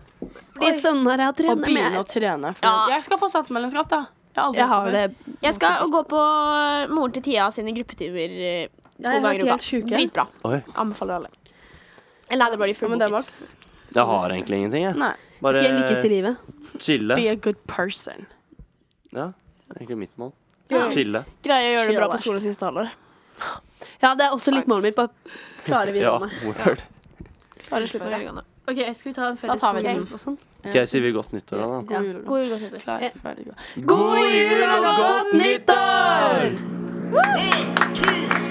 [SPEAKER 3] Blir sånn her, jeg har
[SPEAKER 1] Og
[SPEAKER 3] trent
[SPEAKER 1] begynne å
[SPEAKER 3] mer.
[SPEAKER 1] trene. For
[SPEAKER 4] Ja.
[SPEAKER 1] Jeg skal få statsmedlemskap, da. Jeg har aldri
[SPEAKER 3] Jeg
[SPEAKER 1] hatt
[SPEAKER 3] har det.
[SPEAKER 4] Jeg skal gå på moren til Tia sine gruppetimer eh, to
[SPEAKER 3] har vært
[SPEAKER 4] ganger i uka.
[SPEAKER 3] helt sjuke.
[SPEAKER 4] Dritbra.
[SPEAKER 2] Oi.
[SPEAKER 4] Anbefaler alle. Eller da blir de
[SPEAKER 1] Ja, men det er
[SPEAKER 4] fullbooket.
[SPEAKER 1] Max.
[SPEAKER 2] Jeg har egentlig ingenting, jeg.
[SPEAKER 1] Nei.
[SPEAKER 2] Bare
[SPEAKER 3] Ikke lykkes i livet.
[SPEAKER 2] chille.
[SPEAKER 1] Be a good person.
[SPEAKER 2] Ja, det er egentlig mitt mål.
[SPEAKER 4] Ja.
[SPEAKER 2] Chille.
[SPEAKER 4] Greier å gjøre det
[SPEAKER 3] Chill
[SPEAKER 4] bra
[SPEAKER 3] der.
[SPEAKER 4] på skolen siste halvår.
[SPEAKER 3] Ja, det er også litt målet mitt. Bare klare
[SPEAKER 2] Ja,
[SPEAKER 3] videregående.
[SPEAKER 2] word.
[SPEAKER 4] Bare slutt med velgående.
[SPEAKER 3] Ok, Skal vi ta en
[SPEAKER 1] felles god jul
[SPEAKER 3] og sånn?
[SPEAKER 2] Ok, sier vi godt nyttår da, da?
[SPEAKER 3] Ja.
[SPEAKER 1] God jul.
[SPEAKER 4] God jul, godt nyttår.
[SPEAKER 1] Klar, ferdig, gå.
[SPEAKER 3] God jul og godt nyttår!
[SPEAKER 2] One, two,